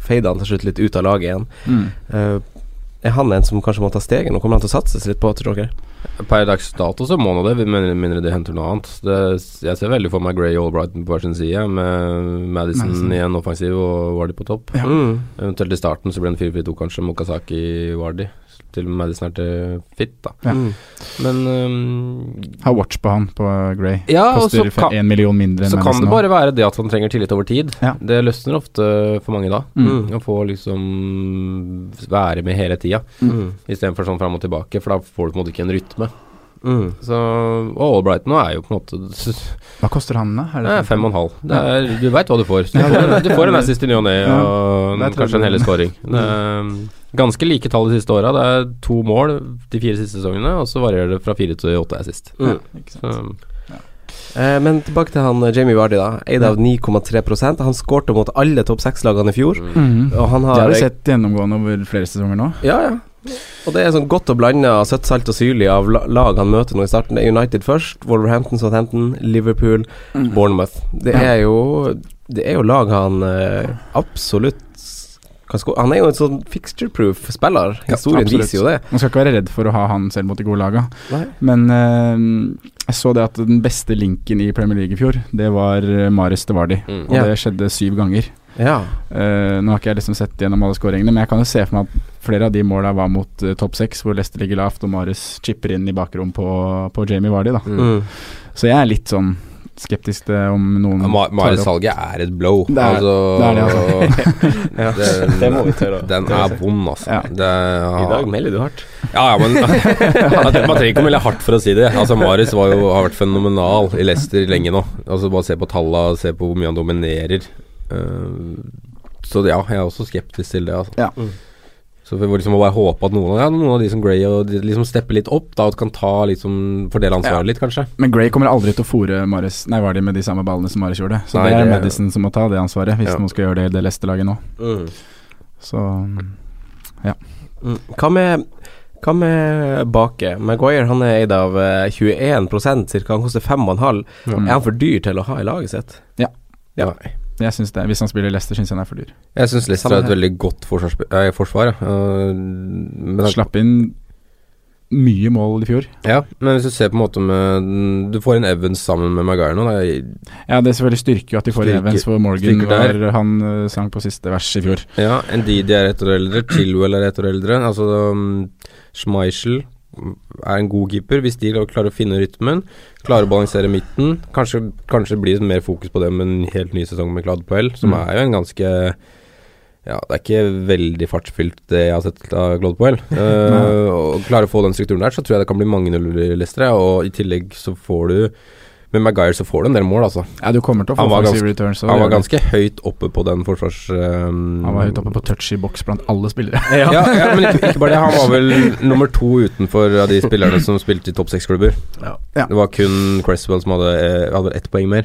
Speaker 4: feida han til slutt litt ut av laget igjen.
Speaker 5: Mm.
Speaker 4: Eh, er han en som kanskje må ta steget? Nå kommer han til å satses litt på, tror dere?
Speaker 2: Per dags dato så må nå det, med mindre de henter noe annet. Det, jeg ser veldig for meg Gray og Albrighton på hver sin side, med Madison,
Speaker 4: Madison.
Speaker 2: i en offensiv og Wardy på topp.
Speaker 4: Ja. Mm.
Speaker 2: Eventuelt i starten så blir det en 4-4-2 kanskje, Mokasaki Wardy. Til Madison er til fit, da.
Speaker 5: Ja. Mm.
Speaker 2: Men øhm,
Speaker 5: Har watch på han på Grey.
Speaker 2: Ja, og
Speaker 5: Koster
Speaker 2: så
Speaker 5: for
Speaker 2: kan-
Speaker 5: én million mindre enn
Speaker 2: så kan
Speaker 5: Madison
Speaker 2: det
Speaker 5: nå.
Speaker 2: bare være det at han trenger tillit over tid.
Speaker 5: Ja.
Speaker 2: Det løsner ofte for mange da.
Speaker 5: Mm.
Speaker 2: Å få liksom være med hele tida,
Speaker 4: Mm.
Speaker 2: istedenfor sånn fram og tilbake, for da får du på en måte ikke en rytme.
Speaker 4: Mm.
Speaker 2: Så, og Albright nå er jo på en måte
Speaker 5: Hva koster han, da? Er det sånn-
Speaker 2: Det er Eh, fem og en halv. Det er, du veit hva du får. Du
Speaker 5: Ja,
Speaker 2: får,
Speaker 5: det-
Speaker 2: du får en assist i ny og ne,
Speaker 5: Ja.
Speaker 2: og
Speaker 5: Det er
Speaker 2: kanskje en hellig
Speaker 5: tøft.
Speaker 2: scoring. Det er
Speaker 4: Mm.
Speaker 2: Ganske like tall de siste åra. Det er to mål de fire siste sesongene, og så varierer det fra fire til åtte assist.
Speaker 4: Mm.
Speaker 2: Så-
Speaker 4: Eh, men tilbake til han eh, Jamie Vardy, da. Eid av 9,3 Han skårte mot alle topp seks-lagene i fjor.
Speaker 2: Mm.
Speaker 5: Mhm.
Speaker 4: Og han
Speaker 5: Det
Speaker 4: har
Speaker 5: har du sett gjennomgående over flere sesonger nå.
Speaker 4: Ja, ja. Og det er sånn godt og blanda søtt, salt og syrlig av la- lag han møter nå i starten. Det er United først, Wolverhampton, Southampton, Liverpool,
Speaker 5: Mm.
Speaker 4: Bournemouth. Det
Speaker 5: Ja.
Speaker 4: er jo Det er jo lag han eh, absolutt kan sko Han er jo en sånn fixture-proof spiller. Historien
Speaker 5: absolutt.
Speaker 4: viser jo det.
Speaker 5: Man skal ikke være redd for å ha han selv mot de gode laga.
Speaker 4: Nei.
Speaker 5: Men eh, jeg så det at den beste linken i Premier League i fjor, det var eh, Maris Devardi.
Speaker 2: Mm.
Speaker 5: Og
Speaker 4: Ja.
Speaker 5: det skjedde syv ganger.
Speaker 4: Ja.
Speaker 5: Eh, nå har ikke jeg liksom sett gjennom alle skåringene, men jeg kan jo se for meg at flere av de måla var mot eh, topp seks, hvor Leicester ligger lavt og Maris chipper inn i bakrom på, på Jamie Vardy. Da.
Speaker 4: Mm.
Speaker 5: Så jeg er litt sånn skeptisk til om noen
Speaker 2: Ja, Ma-
Speaker 5: tar det opp.
Speaker 2: Mares-salget er et blow.
Speaker 5: Det er-
Speaker 2: altså,
Speaker 5: det er det, altså. Ja.
Speaker 2: den,
Speaker 5: Det må vi tørre å-
Speaker 2: Den
Speaker 5: tørre å
Speaker 2: er
Speaker 5: si.
Speaker 2: vond, altså.
Speaker 5: Ja.
Speaker 2: Det er-
Speaker 4: I dag melder du hardt.
Speaker 2: Ja, ja, men man trenger ikke å melde hardt for å si det. Altså, Marius var jo, har vært fenomenal i Leicester lenge nå. Altså, bare se på tallene, se på hvor mye han dominerer. Eh, så ja, jeg er også skeptisk til det. Altså.
Speaker 5: Ja.
Speaker 2: Så vi må liksom bare håpe at noen av, ja, noen av de som Gray og de liksom stepper litt opp, da, og kan ta liksom, fordele ansvaret litt, kanskje.
Speaker 5: Men Gray kommer aldri til å fòre Maris Nei, var de med de samme ballene som Maris gjorde. Så
Speaker 2: Nei,
Speaker 5: det er
Speaker 2: det-
Speaker 5: Madison som må ta det ansvaret, hvis
Speaker 2: Ja.
Speaker 5: noen skal gjøre det i det Leicester-laget nå.
Speaker 2: Mm.
Speaker 5: Så ja.
Speaker 4: Mm. Hva med hva med Bake? Maguire han er eid av eh, 21 cirka Han koster 5,5.
Speaker 5: Ja.
Speaker 4: Er han for dyr til å ha i laget sitt?
Speaker 5: ja.
Speaker 4: Ja.
Speaker 5: Jeg synes det. Hvis han spiller i Leicester, syns jeg han er for dyr.
Speaker 2: Jeg syns Leicester
Speaker 5: Samme
Speaker 2: er et
Speaker 5: her.
Speaker 2: veldig godt forsvarsp- eh, forsvar. ja. Eh, men han-
Speaker 5: Slapp inn mye mål i fjor.
Speaker 2: Ja, men hvis du ser på en måte med Du får en Evans sammen med Maguire nå. Da, i-
Speaker 5: Ja, det selvfølgelig styrker jo at de får
Speaker 2: Styrker-
Speaker 5: Evans, for Morgan
Speaker 2: styrker der.
Speaker 5: var han eh, sang på siste vers i fjor.
Speaker 2: Ja, Ndidi er ett år eldre, Chilwell er ett år eldre. Altså um, Schmeichel er en god keeper hvis de klarer å finne rytmen. Klarer å balansere midten. Kanskje, kanskje blir det mer fokus på det med en helt ny sesong med Claude Puel, som
Speaker 5: Mm.
Speaker 2: er jo en ganske ja, det er ikke veldig fartsfylt, det jeg har sett av Claude Puel. Eh, og klarer å få den strukturen der, så tror jeg det kan bli mange nuller i Leicester. ja, Og i tillegg så får du Med Maguire så får du en del mål, altså.
Speaker 5: Ja, du kommer til å få
Speaker 2: Han var
Speaker 5: offensive
Speaker 2: ganske-
Speaker 5: returns. og
Speaker 2: Han
Speaker 5: det
Speaker 2: var
Speaker 5: gjør du.
Speaker 2: ganske høyt oppe på den forsvars... Um,
Speaker 5: han var høyt oppe på touch i boks blant alle spillere.
Speaker 2: ja. ja, men ikke, ikke bare det. Han var vel nummer to utenfor av de spillerne som spilte i topp seks-klubber.
Speaker 5: Ja.
Speaker 2: Det var kun Cresswell som hadde, eh, hadde ett poeng mer.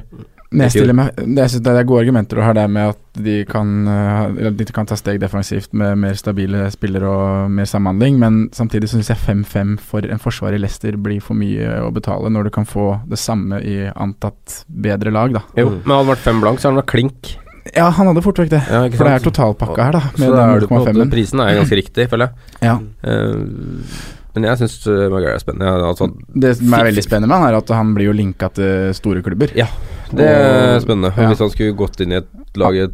Speaker 5: Men jeg
Speaker 2: I fjor.
Speaker 5: stiller meg det- Jeg synes det er gode argumenter å ha der med at de kan, eh, eller de kan ta steg defensivt med mer stabile spillere og mer samhandling, men samtidig så syns jeg 5-5 for en forsvar i Leicester blir for mye å betale når du kan få det samme i antatt bedre lag, da.
Speaker 2: Jo, Men hadde det vært fem blank, så hadde han vært klink.
Speaker 5: Ja, han hadde fort vekk det.
Speaker 2: Ja, ikke
Speaker 5: For det er
Speaker 2: sant?
Speaker 5: totalpakka her, da, med
Speaker 2: så da er
Speaker 5: den
Speaker 2: du på en måte
Speaker 5: 0,5-en.
Speaker 2: Prisen er ganske riktig, føler jeg.
Speaker 5: Ja.
Speaker 2: Eh, men jeg syns Maguire er spennende. Ja, altså,
Speaker 5: Det som er veldig spennende med han, er at han blir jo linka til store klubber.
Speaker 2: Ja, det er
Speaker 5: Og-
Speaker 2: spennende. Og
Speaker 5: Ja.
Speaker 2: Hvis han skulle gått inn i et lag Et,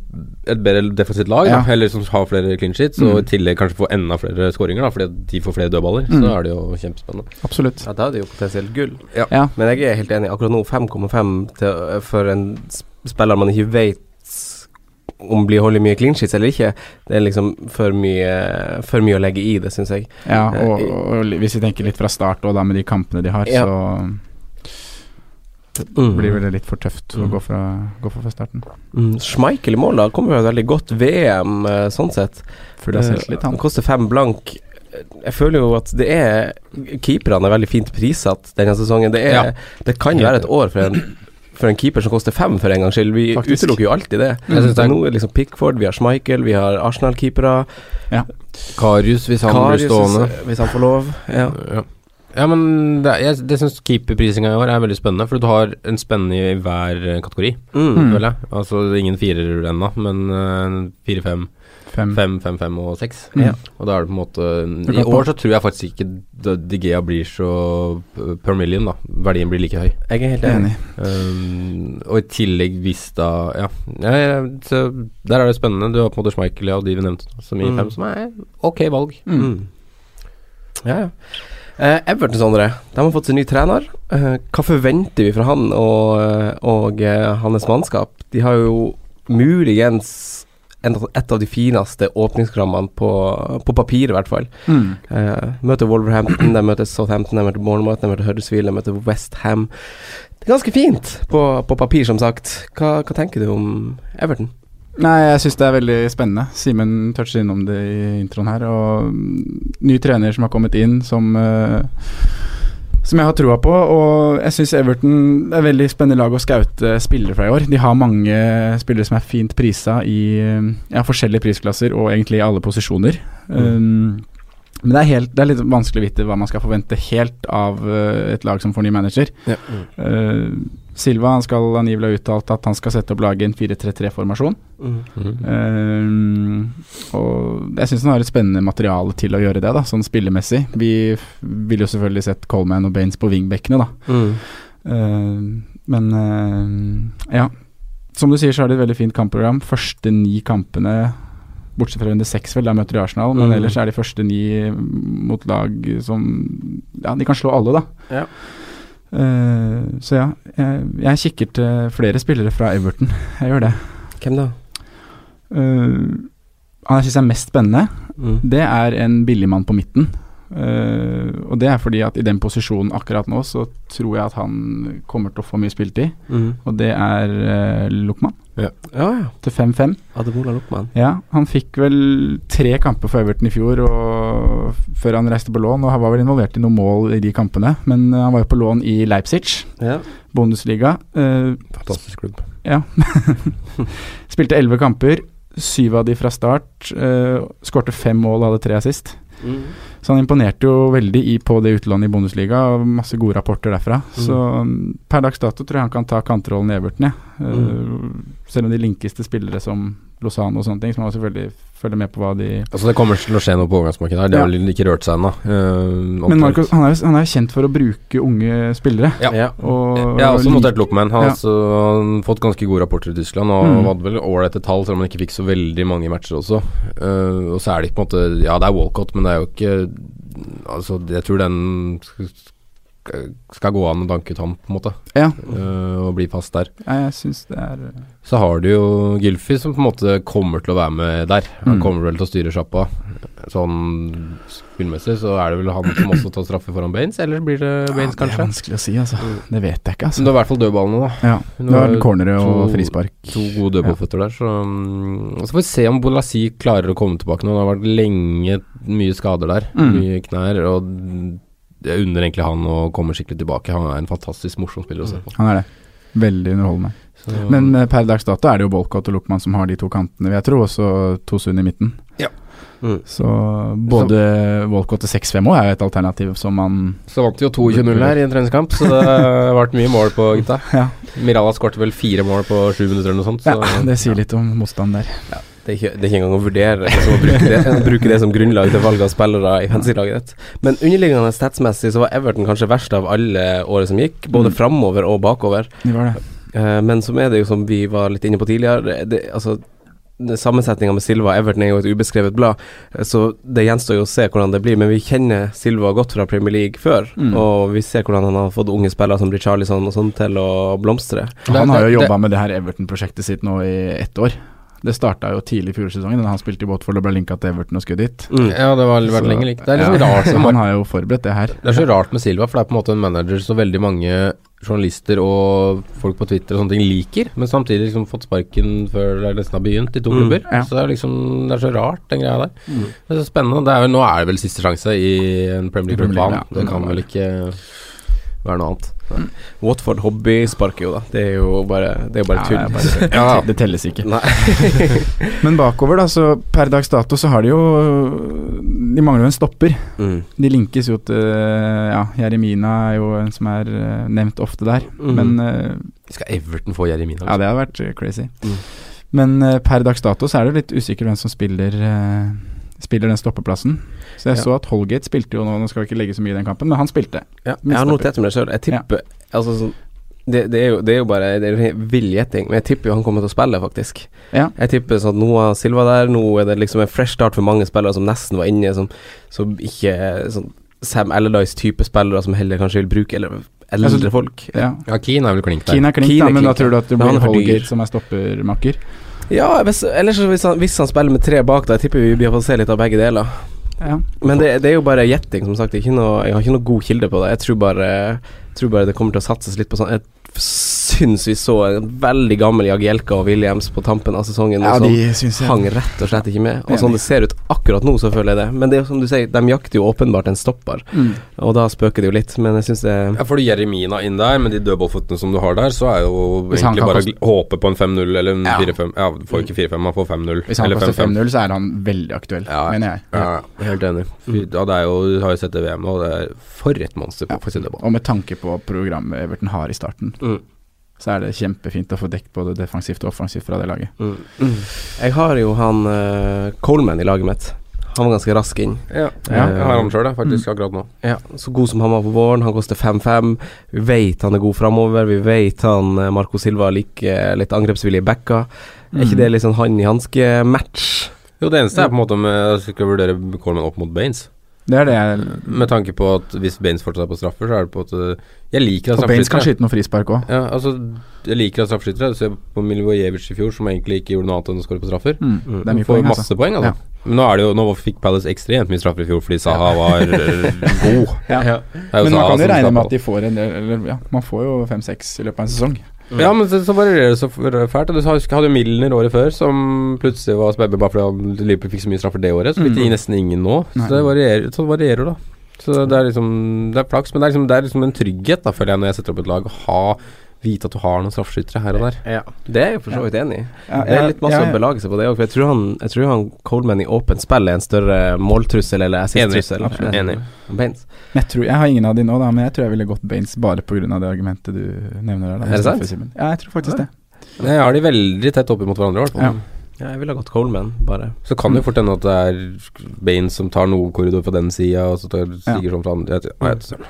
Speaker 2: et bedre defensivt lag, da,
Speaker 5: Ja.
Speaker 2: eller som har flere clean sheets, og
Speaker 5: Mm.
Speaker 2: i tillegg kanskje få enda flere skåringer, da, fordi at de får flere dødballer,
Speaker 5: Mm.
Speaker 2: så er det jo kjempespennende.
Speaker 5: Absolutt.
Speaker 4: Ja, da er det jo potensielt gull.
Speaker 2: Ja.
Speaker 5: Ja.
Speaker 4: Men jeg er helt enig. Akkurat nå 5,5 til- eh, for en s- spiller man ikke vet om blir holder mye clean sheets eller ikke, det er liksom for mye, for mye å legge i det, syns jeg.
Speaker 5: Ja, og, og li- hvis vi tenker litt fra start og da med de kampene de har,
Speaker 4: Ja.
Speaker 5: så
Speaker 4: Mm.
Speaker 5: blir vel det litt for tøft å
Speaker 4: Mm.
Speaker 5: gå fra, gå fra feststarten.
Speaker 4: Mm, Schmeichel i mål da kommer jo et veldig godt VM eh, sånn sett.
Speaker 5: Full av
Speaker 2: altså.
Speaker 5: selvtillit, han.
Speaker 4: Eh, koster fem blank. Jeg føler jo at det er Keeperne er veldig fint prissatt denne sesongen. Det, er,
Speaker 2: Ja.
Speaker 4: det kan være et år for en for en keeper som koster fem, for en gangs skyld. Vi
Speaker 5: Faktisk.
Speaker 4: utelukker jo alltid det.
Speaker 2: Jeg synes det er-
Speaker 4: Nå er det liksom Pickford, vi har Schmeichel, vi har Arsenal-keepere.
Speaker 2: Karius, hvis han
Speaker 4: Karius,
Speaker 2: blir stående.
Speaker 4: hvis- Hvis han får lov. Ja.
Speaker 2: Ja. Ja, men det, jeg, det syns keeperprisinga i år er veldig spennende, for du har en spennende i hver eh, kategori,
Speaker 4: Mm.
Speaker 2: føler jeg. Altså ingen firer ennå, men eh, fire, fem,
Speaker 5: Fem.
Speaker 2: fem, fem, fem og seks.
Speaker 5: Mm. Ja.
Speaker 2: Og da er det på en måte
Speaker 5: Du
Speaker 2: I
Speaker 5: kan
Speaker 2: år
Speaker 5: ta-
Speaker 2: så tror jeg faktisk ikke da De Gea blir så eh, per million, da. Verdien blir like høy.
Speaker 4: Jeg er helt enig.
Speaker 5: Enig.
Speaker 2: Um, og i tillegg hvis da Ja, ja, ja så der er det spennende. Du har på en måte Schmeichel ja, og de vi nevnte, som gir
Speaker 4: Mm.
Speaker 2: fem, som er ok valg.
Speaker 4: Mm. Ja, ja. Eh, Everton, Sondre, de har fått sin ny trener. Eh, hva forventer vi fra han og, eh, og eh, hans mannskap? De har jo muligens en, et av de fineste åpningsprogrammene på, på papir, i hvert fall.
Speaker 5: Mm.
Speaker 4: Eh, møter Wolverhampton, de møter Southampton, de møter Bournemouth, de møter Huddersfield, de møter Westham. Det er ganske fint på, på papir, som sagt. Hva, hva tenker du om Everton?
Speaker 5: Nei, jeg syns det er veldig spennende. Simen touchet innom det i introen her. Og mm, ny trener som har kommet inn, som eh, som jeg har troa på, og jeg syns Everton det er et veldig spennende lag å skaute spillere fra i år. De har mange spillere som er fint prisa i eh, ja, forskjellige prisklasser og egentlig i alle posisjoner. Um, men det er, helt, det er litt vanskelig å vite hva man skal forvente helt av eh, et lag som får ny manager.
Speaker 4: Ja.
Speaker 5: Eh, Silva han skal angivelig ha uttalt at han skal sette opp laget i en 4-3-3-formasjon.
Speaker 2: Mm.
Speaker 5: Ehm, og jeg syns han har et spennende materiale til å gjøre det, da, sånn spillemessig. Vi f- ville jo selvfølgelig sett Coleman og Baines på wingbackene, da.
Speaker 4: Mm.
Speaker 5: Ehm, men ehm, ja. Som du sier, så er det et veldig fint kampprogram. Første ni kampene, bortsett fra runde seks, vel, da møter de Arsenal. Men
Speaker 4: Mm.
Speaker 5: ellers er de første ni mot lag som Ja, de kan slå alle, da.
Speaker 4: Ja.
Speaker 5: Ehm, så ja, jeg, jeg kikker til flere spillere fra Everton. Jeg gjør det.
Speaker 4: Hvem da?
Speaker 5: Uh, han jeg syns er mest spennende, det er en billigmann på midten. Eh, og det er fordi at i den posisjonen akkurat nå, så tror jeg at han kommer til å få mye spilletid.
Speaker 2: Mm.
Speaker 5: Og det er uh, Lukman,
Speaker 4: Ja, ja.
Speaker 5: til 5-5.
Speaker 4: Ademola Luckman.
Speaker 5: Ja, han fikk vel tre kamper for Everton i fjor og f- før han reiste på lån, og han var vel involvert i noen mål i de kampene. Men eh, han var jo på lån i Leipzig,
Speaker 4: Ja.
Speaker 5: Bundesliga. Eh,
Speaker 2: Fantastisk klubb.
Speaker 5: spilte elleve kamper, syv av de fra start. Uh, Skårte fem mål og hadde tre assist.
Speaker 4: Mm.
Speaker 5: Så han imponerte jo veldig i, på det utlånet i Bundesliga, og masse gode rapporter derfra. Så mm, per dags dato tror jeg han kan ta kanterollen i Everton, jeg. Eh,
Speaker 2: Mm.
Speaker 5: Selv om de linkeste spillere som Lozano og sånne ting, så må man selvfølgelig følge med på hva de
Speaker 2: Altså Det kommer til å skje noe på overgangsmarkedet her. Det har
Speaker 5: Ja.
Speaker 2: vel ikke rørt seg ennå. eh,
Speaker 5: Men
Speaker 2: omtrent.
Speaker 5: Marcos, han er jo han er jo kjent for å bruke unge spillere.
Speaker 2: Ja.
Speaker 4: Ja.
Speaker 5: Og
Speaker 2: Jeg har også
Speaker 5: lik-
Speaker 2: notert Lookman. Han har
Speaker 5: Ja.
Speaker 2: altså, han fått ganske gode rapporter i Tyskland, og
Speaker 5: Mm.
Speaker 2: hadde vel ålreite tall, selv om han ikke fikk så veldig mange matcher også. Eh, og så er det ikke på en måte Ja, det er Walcott, men det er jo ikke Altså, jeg tror den skal, skal gå an å danke ut ham, på en måte,
Speaker 5: Ja,
Speaker 2: eh, og bli fast der.
Speaker 5: ja, jeg syns det er
Speaker 2: Så har du jo Gylfi, som på en måte kommer til å være med der. Han
Speaker 5: Mm.
Speaker 2: kommer vel til å styre sjappa. Sånn spillmessig så er det vel han som også tar straffe foran Baines, eller blir det Baines,
Speaker 5: Ja, Det er
Speaker 2: kanskje? Mm.
Speaker 5: vanskelig å si, altså. Det vet jeg ikke,
Speaker 2: Men det
Speaker 5: altså.
Speaker 2: er i hvert fall dødballene, da.
Speaker 5: Ja,
Speaker 2: Nå
Speaker 5: det var
Speaker 2: er
Speaker 5: cornere og
Speaker 2: to-
Speaker 5: frispark.
Speaker 2: To gode dødballføtter der, så mm, og Så får vi se om Bolasi klarer å komme tilbake nå. Det har vært lenge mye skader der.
Speaker 5: Mm.
Speaker 2: Mye knær. Og jeg unner egentlig han å komme skikkelig tilbake. Han er en fantastisk morsom spiller å se på.
Speaker 5: Han er det. Veldig underholdende.
Speaker 2: Så-
Speaker 5: Mm. Men eh, per dags dato er det jo Bolkot og Luckman som har de to kantene, vil jeg tro, og så Tosun i midten.
Speaker 2: Ja.
Speaker 4: Mm.
Speaker 5: Så både Walcott til 6-5 òg er jo et alternativ som man
Speaker 2: så vant vi jo 22-0 her i en treningskamp, så det har vært mye mål på gutta.
Speaker 5: Ja.
Speaker 2: Mirala skårte vel fire mål på sju minutter eller noe sånt. Så.
Speaker 5: Ja, det sier litt om motstand der.
Speaker 4: Det er, ikke, det er ikke engang å vurdere liksom, å bruke, det, å bruke det som grunnlag til valg av spillere i fantasy-laget ditt. Men underliggende statsmessig så var Everton kanskje verst av alle året som gikk, både
Speaker 5: Mm.
Speaker 4: framover og bakover.
Speaker 5: Det var det.
Speaker 4: Eh, men som er det jo som vi var litt inne på tidligere, det, altså Sammensetninga med Silva og Everton er jo et ubeskrevet blad, eh, så det gjenstår jo å se hvordan det blir. Men vi kjenner Silva godt fra Premier League før,
Speaker 5: Mm.
Speaker 4: og vi ser hvordan han har fått unge spillere som Richarlison og sånn til å blomstre.
Speaker 5: Og Han
Speaker 2: Det-
Speaker 5: har jo
Speaker 2: det-
Speaker 5: jobba med det her Everton-prosjektet sitt nå i ett år. Det starta jo tidlig i fjorårssesongen, da han spilte i Watford og ble linka til Everton og skutt dit.
Speaker 4: Mm.
Speaker 2: Ja, det var
Speaker 5: Så-
Speaker 2: vært lenge likt. Det er
Speaker 5: Ja.
Speaker 2: litt sånn rart. som
Speaker 5: Han har jo forberedt det her.
Speaker 2: Det er så rart med Silva, for det er på en måte en manager som veldig mange journalister og folk på Twitter og sånne ting liker, men samtidig liksom fått sparken før det nesten har begynt i to
Speaker 4: Mm,
Speaker 2: klubber.
Speaker 5: ja.
Speaker 2: Så det er liksom Det er så rart, den greia der.
Speaker 4: Mm.
Speaker 2: Det er så spennende. Det er vel, nå er det vel siste sjanse i en Premier
Speaker 5: Premier
Speaker 2: League-klubb.
Speaker 5: League, ja.
Speaker 2: Det kan vel ikke
Speaker 4: være noe annet. Watford hobby sparker jo, da. Det er jo bare, det er jo bare
Speaker 5: Ja, det er
Speaker 4: tull.
Speaker 5: bare- det telles ikke.
Speaker 4: Nei.
Speaker 5: Men bakover, da, så per dags dato så har de jo De mangler jo en stopper.
Speaker 4: Mm.
Speaker 5: De linkes jo til eh, Ja, Jeremina er jo en som er eh, nevnt ofte der,
Speaker 2: Mm.
Speaker 4: Mhm.
Speaker 5: men eh,
Speaker 4: Skal Everton få Jeremina?
Speaker 5: Ja, det hadde vært eh, crazy.
Speaker 4: Mm.
Speaker 5: Men eh, per dags dato så er det litt usikkert hvem som spiller eh, Spiller den stoppeplassen. Så jeg
Speaker 4: Ja.
Speaker 5: så at Holgate spilte jo nå, nå skal vi ikke legge så mye i den kampen, men han spilte.
Speaker 4: Ja,
Speaker 5: Min
Speaker 4: jeg har
Speaker 5: stopper.
Speaker 4: notert om det sjøl. Jeg tipper Altså, sånn det, det, er jo, det er jo bare Det er jo vill gjetting, men jeg tipper jo han kommer til å spille, faktisk.
Speaker 5: Ja.
Speaker 4: Jeg tipper sånn at nå er Silva der, nå er det liksom en fresh start for mange spillere som nesten var inne, som, som ikke er sånn Sam Allardyce-type spillere som heller kanskje vil bruke eller eldre
Speaker 5: Altså,
Speaker 4: folk.
Speaker 5: Ja.
Speaker 2: liksom? Ja, Keane er vel klink der.
Speaker 5: Keane er klink,
Speaker 4: Keane
Speaker 5: da,
Speaker 4: er
Speaker 5: men da
Speaker 4: klink,
Speaker 5: tror du at det
Speaker 4: men han
Speaker 5: blir
Speaker 4: er for dyr.
Speaker 5: Holgate som er stoppermakker?
Speaker 4: Ja, hvis, ellers så hvis han, hvis han spiller med tre bak, da jeg tipper vi blir å få se litt av begge deler.
Speaker 5: Ja.
Speaker 4: Men det, det er jo bare gjetting, som sagt. Det er Ikke noe, jeg har ikke noe god kilde på det. Jeg tror bare, tror bare det kommer til å satses litt på sånn Jeg syns vi så en veldig gammel Jagielka og Williams på tampen av sesongen.
Speaker 5: Ja,
Speaker 4: og sånn.
Speaker 5: de syns jeg-
Speaker 4: Hang rett og slett ikke med. Og
Speaker 5: Enig.
Speaker 4: sånn det ser ut akkurat nå, så føler jeg det. Men det er jo som du sier, de jakter jo åpenbart en stopper,
Speaker 5: Mm.
Speaker 4: og da spøker det jo litt. Men jeg syns det
Speaker 2: Ja, Får du Jeremina inn der, med de dødballføttene som du har der, så er jo
Speaker 5: Hvis han
Speaker 2: egentlig
Speaker 5: kan
Speaker 2: bare å
Speaker 5: koste-
Speaker 2: gl- håpe på en 5-0 eller en
Speaker 5: Ja. Mm.
Speaker 2: 4-5 Ja, du får ikke 4-5, man får 5-0.
Speaker 5: Hvis han
Speaker 2: eller
Speaker 5: koster 5-0, så er han veldig aktuell,
Speaker 2: Ja, Mm.
Speaker 5: mener jeg.
Speaker 2: Ja, ja, helt enig. Fy, ja, det er jo, du har jo sett det i VM, og det er for et monster på for Sundeball.
Speaker 5: Og med tanke på programmet Everton har i starten,
Speaker 4: Mm.
Speaker 5: så er det kjempefint å få dekk både defensivt og offensivt fra det laget.
Speaker 4: Jeg har jo han eh, Coleman i laget mitt. Han var ganske rask inn.
Speaker 2: Ja,
Speaker 4: Ja.
Speaker 2: jeg har han sjøl, faktisk,
Speaker 5: Mm.
Speaker 2: akkurat nå.
Speaker 4: Ja, så god som han var på våren, han koster 5-5. Vi vet han er god framover, vi vet han eh, Marco Silva liker litt angrepsvillige backer. Er ikke det litt sånn hand i hanske-match?
Speaker 2: Jo, det eneste er på en måte om jeg skal vurdere Coleman opp mot Baines.
Speaker 5: Det er det jeg
Speaker 2: Med tanke på at hvis Baines fortsatt er på straffer, så er det på at øh, Jeg liker at
Speaker 5: Og Baines kan
Speaker 2: straffeskyttere
Speaker 5: skyte noen frispark òg.
Speaker 2: ja, altså, Jeg liker at straffeskyttere Se på Milivojevic i fjor, som egentlig ikke gjorde noe annet enn å skåre på straffer.
Speaker 5: Mm.
Speaker 4: Mm.
Speaker 5: Det er mye
Speaker 2: får
Speaker 5: poeng, altså.
Speaker 2: masse poeng, altså.
Speaker 5: Ja.
Speaker 2: Men nå, er det jo, nå fikk Palace ekstremt mye straffer i fjor fordi Saha var øh, god.
Speaker 5: Ja.
Speaker 2: Det er jo
Speaker 5: Men man kan jo
Speaker 2: Saha som
Speaker 5: regne
Speaker 2: slapp
Speaker 5: med
Speaker 2: av.
Speaker 5: at de får en del eller, ja, Man får jo fem-seks i løpet av en sesong.
Speaker 2: Ja, men så, så varierer det så f- fælt. Du husker- hadde jo Milner året før, som plutselig var spebbe bare fordi han- Liverpool fikk så mye straffer det året. Så fikk de nesten ingen nå. Så
Speaker 5: Mm. Nei.
Speaker 2: det varierer, så det varierer da. Så det er liksom Det er flaks, men det er liksom, det er liksom en trygghet, da, føler jeg, når jeg setter opp et lag, å ha Vite at du har noen straffeskyttere her og der.
Speaker 4: Ja, det er jeg for så vidt enig i.
Speaker 5: Ja,
Speaker 4: Det er litt masse
Speaker 5: ja,
Speaker 4: å
Speaker 5: ja.
Speaker 4: belage seg på det òg, for jeg tror, han, jeg tror han Coleman i åpent spill er en større måltrussel eller assist-trussel.
Speaker 2: Enig, absolutt. Enig.
Speaker 4: enn Baines.
Speaker 5: Jeg, tror, jeg har ingen av de nå, da, men jeg tror jeg ville gått Baines bare pga. det argumentet du nevner. Der, da,
Speaker 4: Er det sant?
Speaker 5: straffesimen. Ja, jeg tror faktisk det.
Speaker 2: Nei, Jeg har de veldig tett opp mot hverandre, i hvert fall.
Speaker 5: Ja.
Speaker 4: Ja, jeg ville ha gått Coleman, bare.
Speaker 2: Så kan det jo fort hende at det er Baines som tar noe korridor på den sida, og så tar Sigurdsson fra andre. Jeg vet- Nei, jeg vet ikke.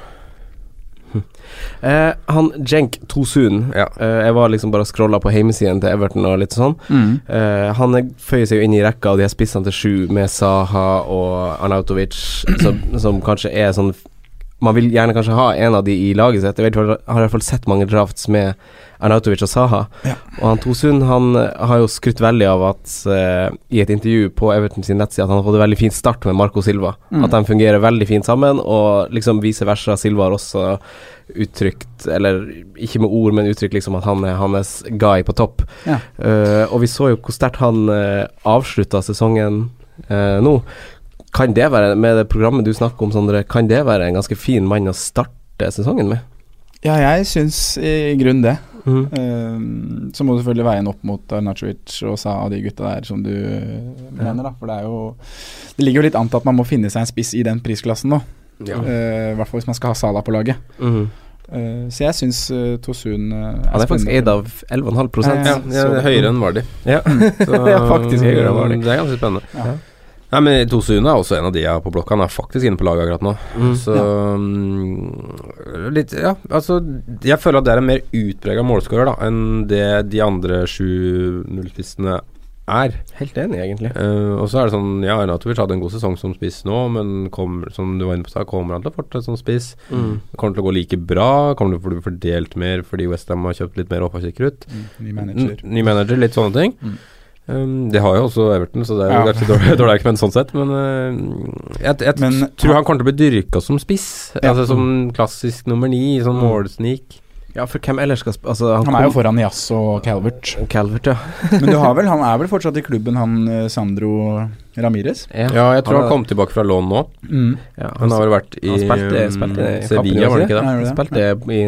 Speaker 4: Eh, han Jenk Tosun
Speaker 2: Ja.
Speaker 4: eh, Jeg var liksom bare og scrolla på hjemmesiden til Everton og litt sånn.
Speaker 5: Mm.
Speaker 4: Eh, han er- føyer seg jo inn i rekka av de her spissene til sju, med Saha og Arnautovic, som, som kanskje er sånn Man vil gjerne kanskje ha en av de i laget sitt. Jeg vet, i hvert fall- har i hvert fall sett mange drafts med Arnautovic og Saha. Og han Tosun han eh, har jo skrytt veldig av at eh, i et intervju på Everton sin nettside at han har fått en veldig fin start med Marco Silva. At de fungerer veldig fint sammen, og liksom vice versa. Silva har også uttrykt, eller ikke med ord, men uttrykt liksom at han er hans guy på topp.
Speaker 5: Ja.
Speaker 4: Eh, og vi så jo hvor sterkt han uh, avslutta sesongen eh, nå. Kan det være, med det programmet du snakker om, Sondre, kan det være en ganske fin mann å starte sesongen med?
Speaker 5: ja, jeg syns i grunnen det.
Speaker 4: Mm.
Speaker 5: Ehm, så må du selvfølgelig veie den opp mot Arnacovic og sa av de gutta der som du eh, mener, da. For det er jo Det ligger jo litt an til at man må finne seg en spiss i den prisklassen nå.
Speaker 4: Ja.
Speaker 5: Eh, I hvert fall hvis man skal ha Sala på laget.
Speaker 4: Mhm.
Speaker 5: Eh, så jeg syns Tosun eh,
Speaker 4: Han er faktisk eid av 11,5
Speaker 5: Ja, ja.
Speaker 2: Ja, jeg er høyere enn Vardi.
Speaker 4: Ja.
Speaker 2: Så- mm,
Speaker 4: Ja, faktisk, jeg gjør det, Vardy.
Speaker 2: Det er ganske spennende.
Speaker 5: Ja.
Speaker 2: Nei, men Tosun er også en av de jeg har på blokka. Han er faktisk inne på laget akkurat nå. Så mm, litt Ja, altså Jeg føler at det er en mer utprega målskårer da, enn det de andre 7-0-spissene er.
Speaker 4: Helt enig, egentlig.
Speaker 2: Eh, og så er det sånn Ja, Arnatovic hadde en god sesong som spiss nå, men kommer, som du var inne på, sa, kommer han til å fortsette som spiss?
Speaker 4: Mm.
Speaker 2: Kommer det til å gå like bra? Kommer det til å bli fordelt mer fordi Westham har kjøpt litt mer opphavskikkerut?
Speaker 5: ny
Speaker 2: N- Ny manager, litt sånne ting. Um, det har jo også Everton, så det er jo
Speaker 5: Mm. Ja.
Speaker 2: kanskje dårlig, dårlig argument sånn sett. Men uh, jeg, jeg
Speaker 5: Men-
Speaker 2: tror han kommer til å bli dyrka som spiss.
Speaker 5: Ja. Mm.
Speaker 2: Altså Som klassisk nummer ni, sånn målsnik.
Speaker 4: Ja, for hvem ellers skal sp altså,
Speaker 5: Han er jo
Speaker 4: kom-
Speaker 5: foran Jazz og Calvert.
Speaker 4: Calvert, ja.
Speaker 5: Men du har vel, han er vel fortsatt i klubben, han eh, Sandro Ramirez?
Speaker 2: Ja, jeg tror han, kom tilbake fra lån nå.
Speaker 5: Mm.
Speaker 2: Ja, han har vel vært i
Speaker 4: Han spilte,
Speaker 2: um,
Speaker 4: spilte i Capri,
Speaker 2: Sevilla, var det ikke det?
Speaker 5: Ja, gjorde det.
Speaker 4: Spilte i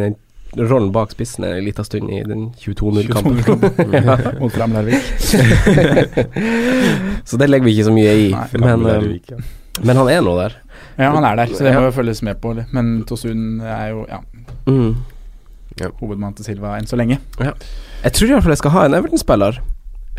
Speaker 4: den rollen bak spissen en liten stund i den 22-0-kampen.
Speaker 5: 22-0-kampen.
Speaker 4: Ja.
Speaker 5: Mot Fram Larvik.
Speaker 4: så det legger vi ikke så mye i.
Speaker 5: Nei,
Speaker 4: men,
Speaker 2: um,
Speaker 4: eh, men han er nå der.
Speaker 5: Ja, han er der, så det
Speaker 4: Ja.
Speaker 5: må jo følges med på. eller? Men Tosun er jo ja,
Speaker 2: Mhm.
Speaker 4: Mm.
Speaker 5: hovedmann til Silva enn så lenge.
Speaker 4: Jeg tror i hvert fall jeg skal ha en Everton-spiller.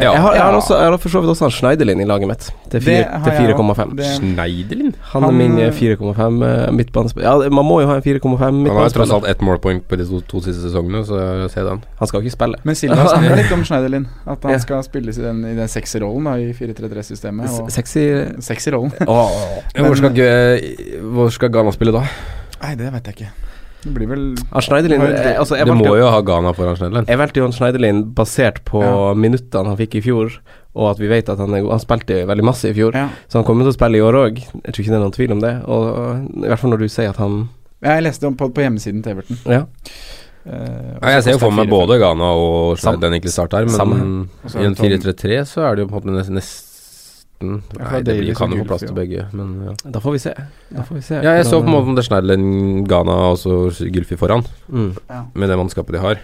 Speaker 2: Ja.
Speaker 4: Jeg, har, jeg, har
Speaker 5: Ja.
Speaker 4: også- jeg har for så vidt også han Schneiderlin i laget mitt, til
Speaker 5: Det
Speaker 4: fire-
Speaker 5: har
Speaker 4: til
Speaker 5: jeg
Speaker 4: 4,5.
Speaker 5: også. Det-
Speaker 2: Schneiderlin?
Speaker 4: Han er
Speaker 5: Han-
Speaker 4: min eh, 4,5 eh, midtbanespiller. Ja, man må jo ha en 4,5
Speaker 2: Han har jo tross alt
Speaker 4: midtbanespiller.
Speaker 2: ett målpoeng på de to, to siste sesongene, så jeg ser den.
Speaker 4: Han skal jo ikke spille.
Speaker 5: Men Silva snakker litt om Schneiderlin. At han
Speaker 4: Ja.
Speaker 5: skal spilles i den, i den sekserrollen da, i 4-3-3-systemet.
Speaker 4: S-
Speaker 5: Og
Speaker 4: Sexy
Speaker 5: sekserrollen?
Speaker 2: Men hvor skal, Gu- eh, hvor skal Ghana spille da?
Speaker 5: Nei, det vet jeg ikke. Det blir vel
Speaker 4: Han Schneiderlin
Speaker 5: Har jo-
Speaker 4: eh, altså, jeg,
Speaker 2: Du
Speaker 4: valgte,
Speaker 2: må
Speaker 4: jo.
Speaker 2: jo ha Ghana foran Schneiderlin.
Speaker 4: jeg valgte jo han Schneiderlin basert på
Speaker 5: Ja.
Speaker 4: minuttene han fikk i fjor, og at vi vet at han er god. Han spilte veldig masse i fjor,
Speaker 5: Ja.
Speaker 4: så han kommer til å spille i år òg. Jeg tror ikke det er noen tvil om det. Og, og, I hvert fall når du sier at han
Speaker 5: Jeg leste om på, på hjemmesiden til Everton.
Speaker 4: Ja.
Speaker 5: Eh,
Speaker 2: Nei, jeg ser jo for meg
Speaker 5: 4-5.
Speaker 2: både Ghana og
Speaker 4: Samme.
Speaker 2: Schneiderlin egentlig start her, men
Speaker 4: Samme.
Speaker 5: Og så er
Speaker 2: i en
Speaker 5: Altså, det Tom-
Speaker 2: 4-3-3 så er det jo på en måte nes- nesten
Speaker 5: Ja, for det
Speaker 2: Nei, det
Speaker 5: er
Speaker 2: blir,
Speaker 5: Davies
Speaker 2: kan
Speaker 5: og
Speaker 2: jo få plass
Speaker 5: Gulf, ja.
Speaker 2: til begge, men ja.
Speaker 4: Da får vi se. Da får vi se.
Speaker 2: Ja, jeg så på
Speaker 4: hvordan-
Speaker 2: en måte om det er Schneiderlin, Ghana og så Gylfi foran,
Speaker 4: Mm.
Speaker 2: med det mannskapet de har.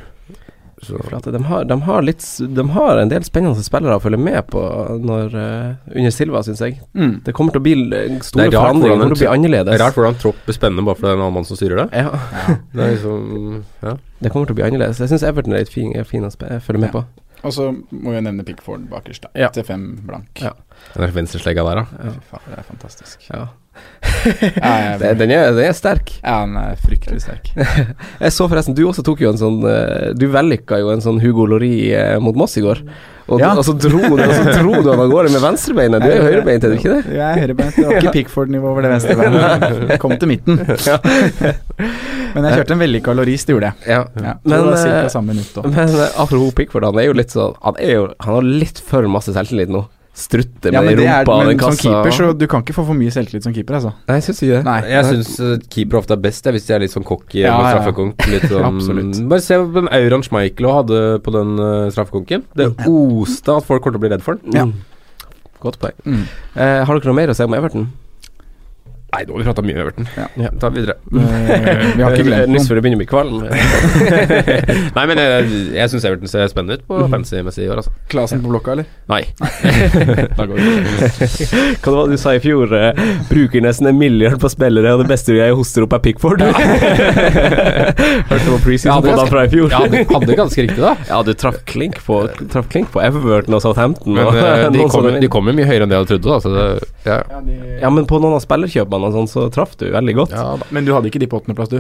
Speaker 2: Så
Speaker 4: For at de, har, de, har litt, s- de har en del spennende spillere å følge med på når, eh, under Silva, syns jeg.
Speaker 5: Mm.
Speaker 4: Det kommer til å bli l- eh, store
Speaker 2: Det er rart
Speaker 4: forandringer. Det
Speaker 2: hvordan
Speaker 4: kommer til å bli
Speaker 2: det
Speaker 4: annerledes.
Speaker 2: er rart hvordan tropp blir spennende bare fordi det er en annen mann som styrer det.
Speaker 4: Ja,
Speaker 2: Det er liksom Ja.
Speaker 4: det kommer til å bli annerledes. Jeg syns Everton er litt fin, er fin å spe- følge med
Speaker 5: Ja.
Speaker 4: på.
Speaker 5: Og så må vi jo nevne Pickford bakerst, da.
Speaker 4: Ja.
Speaker 5: Til fem blank.
Speaker 4: Ja.
Speaker 2: Den der venstreslegga der, da.
Speaker 4: Ja.
Speaker 5: Fy faen, det er fantastisk.
Speaker 4: Ja.
Speaker 5: Ja, jeg-
Speaker 4: Det, den, er, den er sterk.
Speaker 5: ja, han er eh, fryktelig sterk.
Speaker 4: Jeg så forresten, du også tok jo en sånn eh, Du vellykka jo en sånn Hugo Lori eh, mot Moss i går. Og,
Speaker 5: Ja.
Speaker 4: og, så dro, du- og så dro du han av gårde med venstrebeinet. Du er jo høyrebeint, er du ikke det?
Speaker 5: Jeg er høyrebeint. Det var ikke Pickford-nivå over det venstre beinet. Kom til midten. Men jeg kjørte en vellykka loris, det gjorde jeg.
Speaker 4: Ja.
Speaker 5: Ja,
Speaker 4: Men,
Speaker 5: Men, det var
Speaker 4: eh,
Speaker 5: cirka samme minutt da.
Speaker 4: Men eh, apropos Pickford, han er jo litt sånn Han, er jo, han har litt for masse selvtillit nå. Strutter
Speaker 5: Ja,
Speaker 4: med
Speaker 5: men det er,
Speaker 4: rumpa og den
Speaker 5: men som
Speaker 4: kassa.
Speaker 5: keeper, så du kan ikke få for mye selvtillit som keeper, altså.
Speaker 4: Nei, jeg syns ikke det.
Speaker 5: Nei.
Speaker 2: Jeg syns eh, keeper ofte er best jeg, hvis de er litt sånn cocky
Speaker 5: Ja,
Speaker 2: med
Speaker 5: ja, ja.
Speaker 2: straffekonk. Litt sånn,
Speaker 5: Absolutt.
Speaker 2: bare se på den Auran Schmeichel hadde på den eh, straffekonken. Det oste at folk kommer til å bli redd for den.
Speaker 5: Ja.
Speaker 4: Godt poeng.
Speaker 5: Mm.
Speaker 4: Mm. Eh, har dere noe mer å si om Everton?
Speaker 2: Nei, nå har vi prata mye om Everton.
Speaker 5: Ja.
Speaker 2: Ja, ta videre.
Speaker 5: Eh, Vi har ikke
Speaker 4: Eh,
Speaker 5: glemt
Speaker 4: Nyss
Speaker 5: noen.
Speaker 4: før det begynner å bli kvalm.
Speaker 2: Nei, men jeg, jeg syns Everton ser spennende ut på
Speaker 5: Mm-hmm.
Speaker 2: fantasy-messig i år, altså.
Speaker 5: Klasen på blokka, eller?
Speaker 2: Nei.
Speaker 5: Da går vi.
Speaker 4: Hva var det du sa i fjor? Eh, bruker nesten en milliard på spillere, og det beste jeg hoster opp, er Pickford. Hørte du på
Speaker 2: Ja,
Speaker 4: preseason
Speaker 2: det
Speaker 4: på
Speaker 2: er
Speaker 4: da fra i fjor?
Speaker 2: Ja, du hadde ganske riktig, da.
Speaker 4: Ja, du traff klink på, traff klink på Everton og Southampton.
Speaker 2: Men
Speaker 4: og
Speaker 2: eh, de
Speaker 4: noen sånne
Speaker 2: kommer- de kommer mye høyere enn det jeg trodde, da. Så det, ja.
Speaker 4: Ja, men på noen av spillerkjøpene og sånn, så traff du veldig godt.
Speaker 2: ja da.
Speaker 5: Men du hadde ikke de på åttendeplass, du?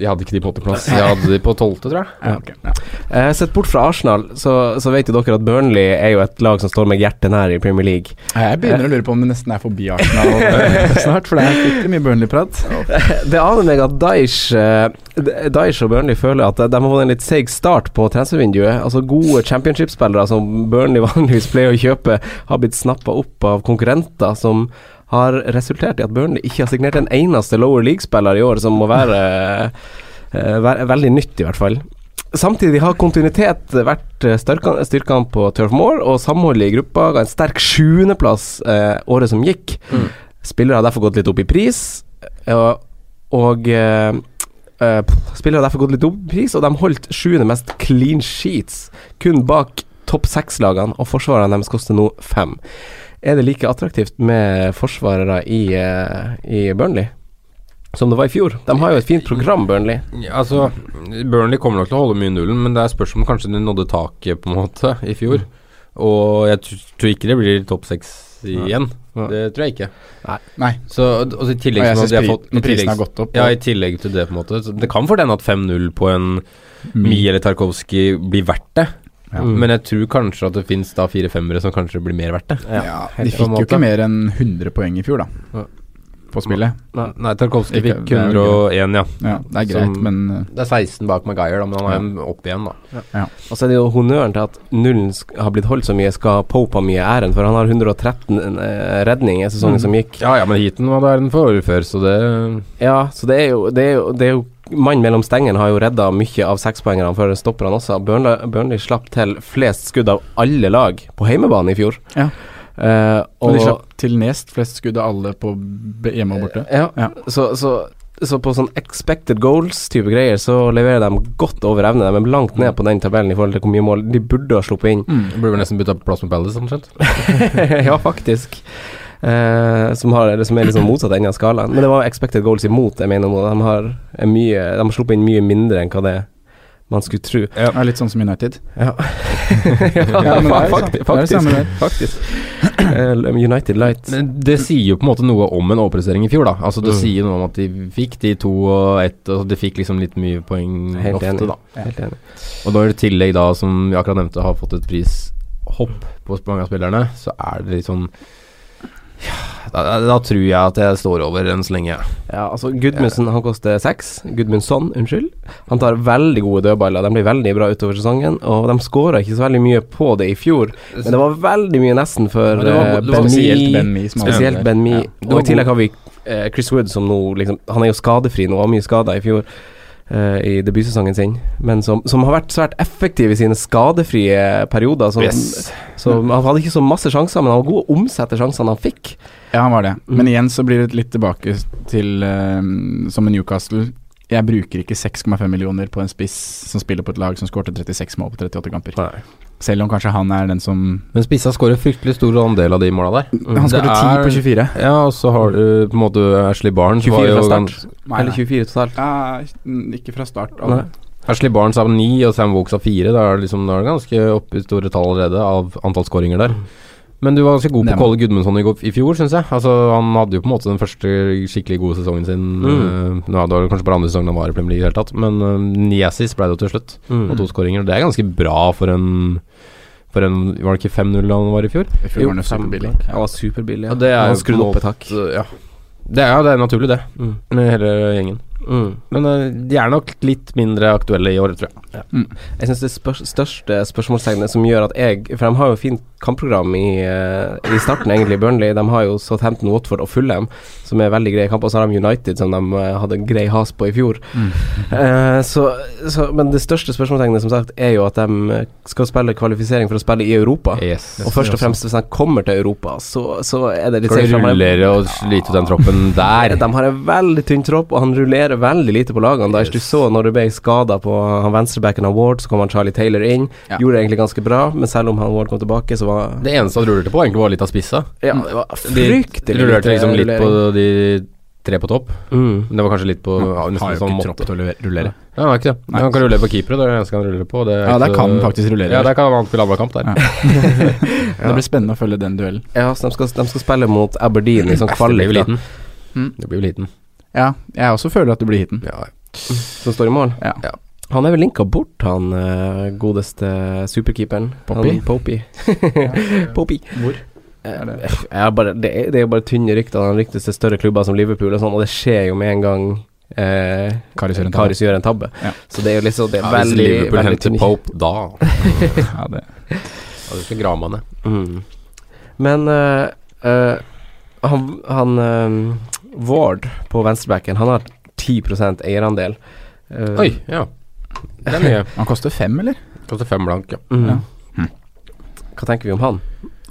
Speaker 2: Jeg hadde ikke de på åttendeplass. Jeg hadde de på tolvte, tror jeg.
Speaker 5: Ja, ok. Ja.
Speaker 4: Eh, sett bort fra Arsenal, så, så vet jo dere at Burnley er jo et lag som står meg hjertet nær i Premier League.
Speaker 5: Jeg begynner å lure på om det nesten er forbi Arsenal eh, snart, for det er fryktelig mye Burnley-prat.
Speaker 4: Det aner meg at Daish, Daish og Burnley føler at de har fått en litt seig start på transfervinduet. Altså gode championship-spillere som Burnley vanligvis pleier å kjøpe, har blitt snappa opp av konkurrenter som har resultert i at Burnley ikke har signert en eneste lower league-spiller i år, som må være eh, ve- veldig nytt, i hvert fall. Samtidig har kontinuitet vært eh, styrka- styrkene på Turf Moor, og samholdet i gruppa ga en sterk sjuendeplass eh, året som gikk. Spillere har derfor gått litt opp i pris, eh, og, og eh, eh, pff, Spillere har derfor gått litt opp i pris, og de holdt sjuende mest clean sheets, kun bak topp seks-lagene, og forsvarerne deres koster nå fem. Er det like attraktivt med forsvarere i, eh, i Burnley som det var i fjor? De har jo et fint program, Burnley.
Speaker 2: Ja, Altså, Burnley kommer nok til å holde mye nullen, men det er spørsmål om kanskje de nådde taket på en måte i fjor. Og jeg tr- tror ikke det blir topp seks igjen.
Speaker 4: Nei.
Speaker 2: Det tror jeg ikke.
Speaker 5: Nei.
Speaker 2: Så, og og i tillegg
Speaker 5: Og jeg
Speaker 2: til at
Speaker 5: synes
Speaker 2: de har
Speaker 5: pri-
Speaker 2: fått i
Speaker 5: når prisen
Speaker 2: tillegg-
Speaker 5: har gått opp,
Speaker 2: Ja,
Speaker 5: og-
Speaker 2: i tillegg til det, på en måte. Så det kan fort hende at 5-0 på en Mi eller Tarkovskij blir verdt det. Mm. Men jeg tror kanskje at det fins da fire femmere som kanskje blir mer verdt det.
Speaker 5: Ja, de
Speaker 2: på en
Speaker 5: fikk jo
Speaker 2: måte.
Speaker 5: ikke mer enn 100 poeng i fjor, da.
Speaker 2: Ja.
Speaker 5: På spillet.
Speaker 2: Nei, Tarkovskij
Speaker 5: Ikke-
Speaker 2: fikk
Speaker 5: det er jo
Speaker 2: 101, ja.
Speaker 5: Ja, det er
Speaker 2: Som-
Speaker 5: greit, men eh,
Speaker 2: Det er 16 bak Maguire, da, men han er opp igjen, da.
Speaker 4: Og så er det jo honnøren til at nullen sk- har blitt holdt så mye, skal Pope ha mye æren, for han har 113 eh, redninger i sesongen som gikk.
Speaker 2: Ja ja, men heaten var der den for året før, så det
Speaker 4: Ja, så det er jo, det er jo, det er jo mann mellom stengene har jo redda mye av sekspoengerne for stopperne også. Burnley, Burnley slapp til flest skudd av alle lag på heimebane i fjor.
Speaker 5: Ja.
Speaker 4: Eh,
Speaker 5: Og de slapp til nest flest skudd av alle på b- hjemme og borte.
Speaker 4: Ja, Så, så, så på sånn expected goals-type greier så leverer de godt over evne. De er langt ned på den tabellen i forhold til hvor mye mål de burde ha sluppet inn.
Speaker 5: Mm.
Speaker 2: Burde vel nesten bytta plass med Palace, omtrent.
Speaker 4: ja, faktisk. Eh, som, har, eller som er liksom motsatt ende av skalaen. Men det var expected goals imot, jeg mener nå. De har, er mye, de har sluppet inn mye mindre enn hva det man skulle tro.
Speaker 5: Det er litt sånn som United.
Speaker 4: Ja,
Speaker 5: Ja, men det er jo sant. Det
Speaker 4: faktisk.
Speaker 5: er det samme der.
Speaker 4: faktisk, faktisk. Eh, United Light.
Speaker 2: Men Det sier jo på en måte noe om en overprestering i fjor, da. Altså Det
Speaker 4: Mm.
Speaker 2: sier noe om at de fikk de to og ett, og de fikk liksom litt mye poeng
Speaker 4: Helt
Speaker 2: ofte,
Speaker 4: enig.
Speaker 2: da.
Speaker 4: Helt enig.
Speaker 2: Og når det i tillegg da, som vi akkurat nevnte, har fått et prishopp på mange av spillerne, så er det litt sånn ja, da, da tror jeg at jeg står over enn så lenge.
Speaker 4: Ja, altså Gudmundsen han koster seks. Gudmundsson, unnskyld. Han tar veldig gode dødballer. De blir veldig bra utover sesongen, og de skåra ikke så veldig mye på det i fjor. Men det var veldig mye nesten for
Speaker 2: Men det var-
Speaker 4: eh,
Speaker 2: det var
Speaker 5: spesielt Ben Mee som hadde
Speaker 4: Spesielt
Speaker 5: den der.
Speaker 4: Ben Mee.
Speaker 5: Ja.
Speaker 4: Og i tillegg har vi eh, Chris Wood, som nå liksom Han er jo skadefri nå, var mye skada i fjor. eh, I debutsesongen sin, men som, som har vært svært effektiv i sine skadefrie perioder. Som,
Speaker 2: Yes.
Speaker 4: så han hadde ikke så masse sjanser, men han var god å omsette sjansene han fikk.
Speaker 5: Ja, han var det. Men igjen så blir det litt tilbake til eh, som med Newcastle. Jeg bruker ikke 6,5 millioner på en spiss som spiller på et lag som skårte 36 mål på 38 kamper. Selv om kanskje han er den som
Speaker 2: Men spissa skårer fryktelig stor andel av de måla der.
Speaker 5: Han skårte 10 på 24.
Speaker 2: Mm. Ja, og så har du på en måte Ashley Barnes. var
Speaker 4: 24
Speaker 2: jo
Speaker 4: fra start.
Speaker 2: gans-
Speaker 5: Nei,
Speaker 4: Eller 24 totalt.
Speaker 5: Ja, ikke fra start.
Speaker 4: Nei.
Speaker 5: alle.
Speaker 2: Ashley Barnes har ni, og Sam Wokes har fire. Da er det liksom, da er det ganske oppe i store tall allerede av antall skåringer der. Men du var ganske god
Speaker 5: Det
Speaker 2: på
Speaker 5: er
Speaker 2: Kolle Gudmundsson i, går- i fjor, syns jeg. Altså, han hadde jo på en måte den første skikkelig gode sesongen sin.
Speaker 4: Mm.
Speaker 2: eh, nå er det var kanskje bare andre sesongen han var i Premier League i det hele tatt, men uh, ni assists ble det jo til slutt, og to skåringer. Det er ganske bra for en for en, Var det ikke 5-0 han var i fjor?
Speaker 5: I fjor var han jo superbillig.
Speaker 4: Han var superbillig.
Speaker 2: Ja, det er
Speaker 4: han
Speaker 2: jo
Speaker 4: skrudd
Speaker 2: på en
Speaker 4: opp et hakk.
Speaker 2: Så, ja. Det er, ja, det er naturlig, det,
Speaker 4: Mm.
Speaker 2: med hele gjengen.
Speaker 4: Mm.
Speaker 2: Men eh, de er nok litt mindre aktuelle i år, tror jeg.
Speaker 4: Jeg syns det spør største spørsmålstegnet som gjør at jeg For de har jo fint kampprogram i, eh, i starten, egentlig, Burnley. De har jo Southampton, Watford og Fulham, som er veldig greie kamper. Og så har de United, som de eh, hadde en grei has på i fjor. Eh, så, så, men det største spørsmålstegnet, som sagt, er jo at de eh, skal spille kvalifisering for å spille i Europa.
Speaker 2: Yes.
Speaker 4: Og først og fremst, hvis de kommer til Europa, så, så er det litt
Speaker 2: Skal de
Speaker 4: sikkert at de-
Speaker 2: rullere og slite ut den troppen der?
Speaker 4: De har en veldig tynn tropp, og han rullerer veldig lite på lagene. Yes. Du så når du ble skada på han venstrebacken av Ward, så kom han Charlie Taylor inn.
Speaker 5: Ja.
Speaker 4: Gjorde det egentlig ganske bra, men selv om han Ward kom tilbake, så var
Speaker 2: Det eneste han rullerte på, var egentlig var litt av spissa.
Speaker 4: Ja, det var
Speaker 2: De
Speaker 4: fryktelig
Speaker 2: rullerte liksom litt på
Speaker 4: rullering.
Speaker 2: de tre på topp.
Speaker 4: Mm.
Speaker 2: Men det var kanskje litt på ja, nesten
Speaker 5: Har jo
Speaker 2: sånn
Speaker 5: ikke
Speaker 2: måte.
Speaker 5: tropp til å le- rullere.
Speaker 2: Nei, han har ikke det. Han kan rullere på keepere, det er det eneste han ruller på. Det er
Speaker 5: Ja, der
Speaker 2: ikke-
Speaker 5: kan han faktisk rullere.
Speaker 2: Ja, der kan han spille annenkamp der.
Speaker 5: Ja. Det blir spennende å følge den duellen.
Speaker 4: Ja, så de skal, de skal spille mot Aberdeen i sånn
Speaker 2: Æsj, Det blir
Speaker 4: kvalik,
Speaker 2: jo
Speaker 4: da,
Speaker 2: liten.
Speaker 5: Mm.
Speaker 2: liksom Det blir jo liten.
Speaker 5: Ja, jeg også føler at du blir hiten.
Speaker 2: Ja,
Speaker 4: som står i mål.
Speaker 5: Ja.
Speaker 4: Han er vel linka bort, han eh, godeste superkeeperen.
Speaker 5: Poppy?
Speaker 4: Han- Poppy. Poppy.
Speaker 5: Hvor?
Speaker 4: Eh, Jeg har bare, det, er, det er jo bare tynne rykter. Han ryktes til større klubber som Liverpool og sånn, og det skjer jo med en gang eh,
Speaker 5: Karius gjør en tabbe.
Speaker 4: Karius gjør en tabbe.
Speaker 5: Ja.
Speaker 4: Så det er jo liksom det er
Speaker 2: hvis
Speaker 4: veldig,
Speaker 2: Liverpool
Speaker 4: veldig
Speaker 2: henter
Speaker 4: tynne-
Speaker 2: Pope da
Speaker 5: Ja, det.
Speaker 2: Ja, du skal grave han ned.
Speaker 4: Mm. Men eh, eh, han, han eh, Ward på venstrebacken, han har 10 eierandel. Eh,
Speaker 2: Oi, ja. Det er mye.
Speaker 5: Han koster fem, eller?
Speaker 2: Koster fem blank, ja.
Speaker 4: Mm.
Speaker 5: Ja.
Speaker 4: Hva tenker vi om han?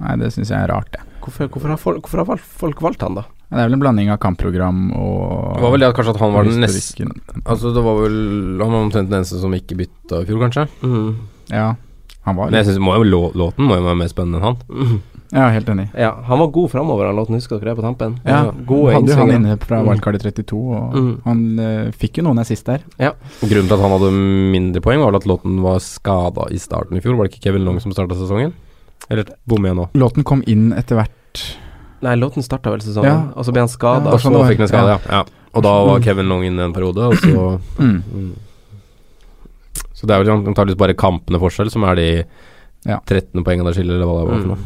Speaker 5: Nei, det syns jeg er rart, det.
Speaker 4: Hvorfor, hvorfor har folk, hvorfor har valgt- folk valgt han, da?
Speaker 5: Det er vel en blanding av kampprogram og
Speaker 2: Det var vel det at kanskje at han var den neste
Speaker 5: historikken.
Speaker 2: Altså, det var vel Han var omtrent den eneste som ikke bytta i fjor, kanskje.
Speaker 4: Mm.
Speaker 5: Ja, han var
Speaker 2: Men jeg synes, må jo, lå- låten må jo være mer spennende enn han.
Speaker 5: Ja, helt enig.
Speaker 4: Ja, han var god framover, han låten. Husker dere det på tampen?
Speaker 5: Ja,
Speaker 4: gode
Speaker 5: hadde jo han
Speaker 4: innsvinger.
Speaker 5: inne fra
Speaker 4: Mm.
Speaker 5: wildcard i 32, og
Speaker 4: Mm.
Speaker 5: han eh, fikk jo noen assist der.
Speaker 2: Grunnen til at han hadde mindre poeng, var vel at låten var skada i starten i fjor. Var det ikke Kevin Long som starta sesongen? Eller bommer jeg nå?
Speaker 5: Låten kom inn etter hvert.
Speaker 4: Nei, låten starta vel sesongen,
Speaker 5: Ja.
Speaker 4: og så ble han skada.
Speaker 5: Ja,
Speaker 2: Og så
Speaker 5: sånn var-
Speaker 2: fikk han en skade, ja. ja. Og da var Kevin Long inne en periode, og så
Speaker 5: Mm.
Speaker 2: mm. Så det er vel antakeligvis bare kampene forskjell som er de
Speaker 5: Ja.
Speaker 2: 13 poengene der skiller, eller hva det var for noe.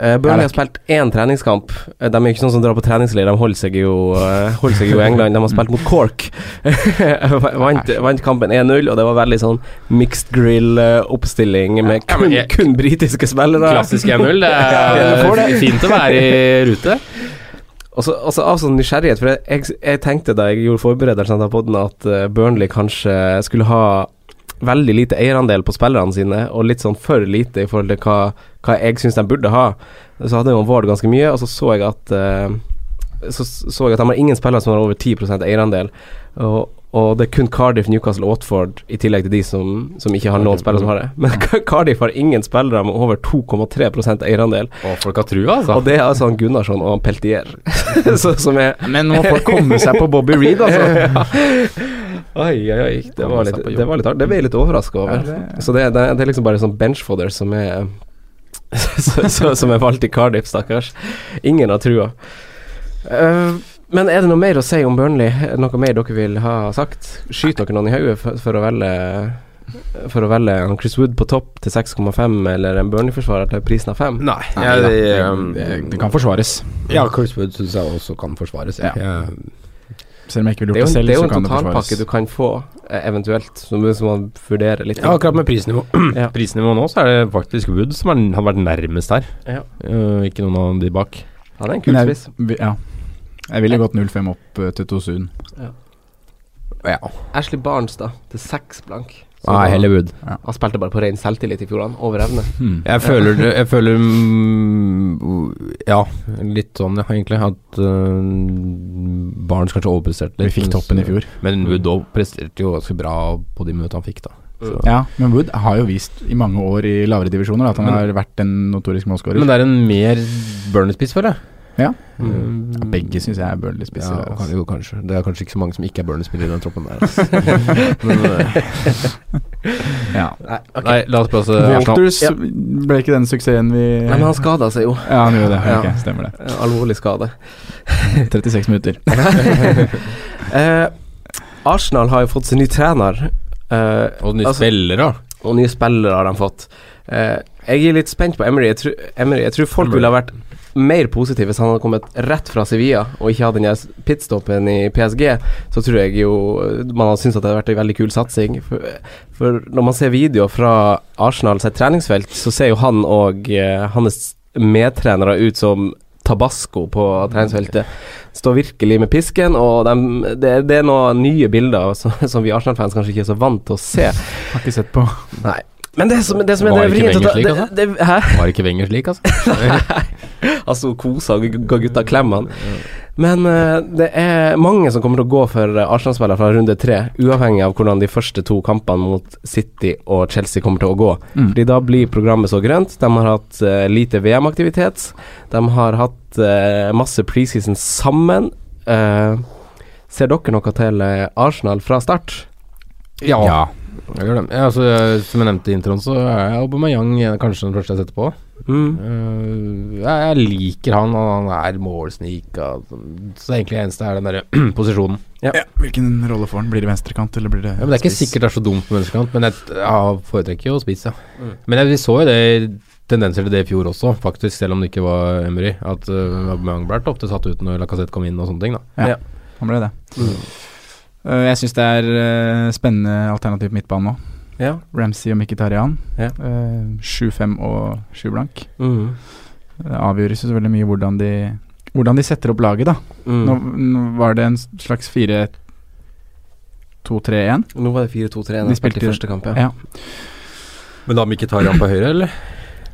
Speaker 4: Eh, Burnley har spilt én treningskamp. Eh, De er jo ikke sånn som drar på treningsleir, de holder seg jo, eh, holder seg jo i England. De har spilt mot Cork. vant, vant kampen 1-0, og det var veldig sånn mixed grill-oppstilling med
Speaker 2: Ja,
Speaker 4: kun,
Speaker 2: men jeg-
Speaker 4: kun britiske spillere.
Speaker 2: Klassisk 1-0. Det
Speaker 4: Ja, du får
Speaker 2: er
Speaker 4: det.
Speaker 2: fint å være i rute.
Speaker 4: Og så- altså Av sånn nysgjerrighet, for jeg, jeg, jeg tenkte da jeg gjorde forberedelsen til podden at eh, Burnley kanskje skulle ha veldig lite eierandel på spillerne sine, og litt sånn for lite i forhold til hva, hva jeg syns de burde ha. Så hadde man Vard ganske mye, og så så jeg at eh, så så jeg at de har ingen spillere som har over 10 eierandel. Og, og det er kun Cardiff, Newcastle og Watford i tillegg til de som, som ikke har noen spillere som har det. Men Cardiff har ingen spillere med over 2,3 eierandel.
Speaker 2: Og folk har trua, altså.
Speaker 4: Og det er altså han Gunnarsson og han Peltier. så, som er
Speaker 5: Men nå må folk komme seg på Bobby Reed, altså.
Speaker 4: Oi, oi, oi. Det
Speaker 5: Komme
Speaker 4: var
Speaker 5: seg
Speaker 4: litt,
Speaker 5: på jobb.
Speaker 4: det var litt hardt. Det ble jeg litt overraska over.
Speaker 5: Ja, det-
Speaker 4: Så det, det, det er liksom bare sånn benchfodder som er så- så- Som er valgt i Cardiff, stakkars. Ingen har trua. Eh, men er det noe mer å si om Burnley? Er det noe mer dere vil ha sagt? Skyter dere noen i hodet for, for å velge for å velge en Chris Wood på topp til 6,5 eller en Burnley-forsvarer til prisen av 5?
Speaker 2: Nei,
Speaker 5: Nei,
Speaker 2: jeg,
Speaker 5: da,
Speaker 2: jeg,
Speaker 5: det, det kan forsvares.
Speaker 2: Ja, Chris Wood syns jeg også kan forsvares. Jeg. Jeg-
Speaker 5: Selv om jeg ikke
Speaker 4: Det er jo,
Speaker 5: ville gjort det,
Speaker 4: det er jo
Speaker 5: selv, så
Speaker 4: en
Speaker 5: kan det
Speaker 4: totalpakke
Speaker 5: forsvares.
Speaker 4: du kan få, eh, eventuelt, som du må vurdere litt.
Speaker 2: Ja, akkurat med prisnivå
Speaker 4: Ja.
Speaker 2: Prisnivå nå, så er det faktisk Wood som er, har vært nærmest her.
Speaker 4: Ja.
Speaker 2: Eh, ikke noen av de bak.
Speaker 4: Han er en kul
Speaker 5: Men jeg,
Speaker 4: spiss.
Speaker 5: vi- ja. jeg ville gått 0-5 opp eh, til Tosun.
Speaker 2: Ja.
Speaker 4: Ashley Barnes, da, til seks blank. Så
Speaker 5: Ah,
Speaker 2: Nei, heller Wood.
Speaker 4: Han spilte bare på ren selvtillit i fjor, han. Over evne.
Speaker 2: Jeg føler, det- jeg føler mm, Ja, litt sånn, ja, egentlig. At uh, Barnes kanskje overpresterte
Speaker 5: Vi
Speaker 2: litt.
Speaker 5: fikk
Speaker 2: men
Speaker 5: toppen i
Speaker 2: så-
Speaker 5: fjor.
Speaker 2: Men Wood òg presterte jo ganske bra på de minuttene han fikk, da. Så.
Speaker 5: Ja, men Wood har jo vist i mange år i lavere divisjoner da, at han
Speaker 2: Men-
Speaker 5: har vært en notorisk målskårer.
Speaker 2: Men det er en mer Burnley-spiss, føler jeg.
Speaker 5: Ja.
Speaker 2: Mm.
Speaker 5: Ja, Begge syns jeg er Burnley-spisser.
Speaker 2: Ja,
Speaker 5: der,
Speaker 2: kan,
Speaker 5: altså.
Speaker 2: jo, kanskje. Det er kanskje ikke så mange som ikke er Burnley-spillere i den troppen der. Altså. Men, eh,
Speaker 5: ja.
Speaker 2: Nei, la oss prate
Speaker 5: Walters ble ikke den suksessen vi
Speaker 4: Nei, men han skada seg jo.
Speaker 5: Ja, han gjorde det.
Speaker 4: Ja.
Speaker 5: Ok, stemmer det.
Speaker 4: Eh, Alvorlig skade.
Speaker 5: 36 minutter.
Speaker 4: Eh, Arsenal har jo fått sin nye trener. Eh,
Speaker 2: Og nye
Speaker 4: altså-
Speaker 2: spillere.
Speaker 4: og nye spillere har de fått. Eh, jeg er litt spent på Emery. Jeg tror, Emery, jeg tror folk
Speaker 2: Emery.
Speaker 4: ville ha vært mer positive hvis han hadde kommet rett fra Sevilla og ikke hadde den der pitstoppen i PSG. Så tror jeg jo eh, man hadde syntes at det hadde vært en veldig kul satsing. For, for når man ser videoer fra Arsenal sitt treningsfelt, så ser jo han og eh, hans medtrenere ut som Tabasco på treningsfeltet. Står virkelig med pisken, og dem- det, det er noen nye bilder som, som vi Arsenal-fans kanskje ikke er så vant til å se.
Speaker 5: Har ikke sett på.
Speaker 4: Nei. Men det som, det som er
Speaker 2: Var
Speaker 4: det
Speaker 2: ikke
Speaker 4: vrient å
Speaker 2: Wenger
Speaker 4: ta-
Speaker 2: slik, altså.
Speaker 4: det- det- Hæ?
Speaker 2: Var ikke Wenger slik, altså?
Speaker 4: Altså kosa og ga
Speaker 5: Mm,
Speaker 4: gutta klemmene. Men eh, det er mange som kommer til å gå for eh, Arsenal-spillere fra runde tre, uavhengig av hvordan de første to kampene mot City og Chelsea kommer til å gå.
Speaker 5: Mm.
Speaker 4: Fordi da blir programmet så grønt. De har hatt eh, lite VM-aktivitet. De har hatt eh, masse preseason sammen. Eh, ser dere noe til eh, Arsenal fra start?
Speaker 2: Ja. Jeg gjør det. Ja, altså, jeg- som jeg nevnte i introen, så er Aubameyang en- kanskje den første jeg setter på.
Speaker 4: Mm.
Speaker 2: Eh, jeg, jeg liker han, og han er målsnik. og sånn. Så egentlig det eneste er den derre posisjonen.
Speaker 5: Ja. Hvilken rolle får han? Blir det venstrekant, eller blir det
Speaker 2: Ja, men Det er ikke
Speaker 5: spiss?
Speaker 2: sikkert det er så dumt på menneskekant, men jeg ja, foretrekker jo å spise. Ja. Men jeg, vi så jo det tendenser til det i fjor også, faktisk, selv om det ikke var Emery. At uh, Aubameyang ble ofte satt ut når Lacassette kom inn og sånne ting. da
Speaker 5: Han ble det. Uh, jeg syns det er uh, spennende alternativ på midtbanen nå.
Speaker 4: Ja.
Speaker 5: Ramsey og Mkhitarian.
Speaker 4: Ja.
Speaker 5: Uh, 7-5 og 7 blank.
Speaker 4: Mm.
Speaker 5: Det avgjøres jo så veldig mye hvordan de, hvordan de setter opp laget, da.
Speaker 4: Mm.
Speaker 5: Nå,
Speaker 4: Nå,
Speaker 5: nå var det en slags 4-2-3-1.
Speaker 4: var det 4-2-3
Speaker 5: De
Speaker 4: de spilte i
Speaker 5: spilte-
Speaker 4: første kamp. Ja.
Speaker 5: Ja.
Speaker 2: Men da Mkhitarian på høyre, eller?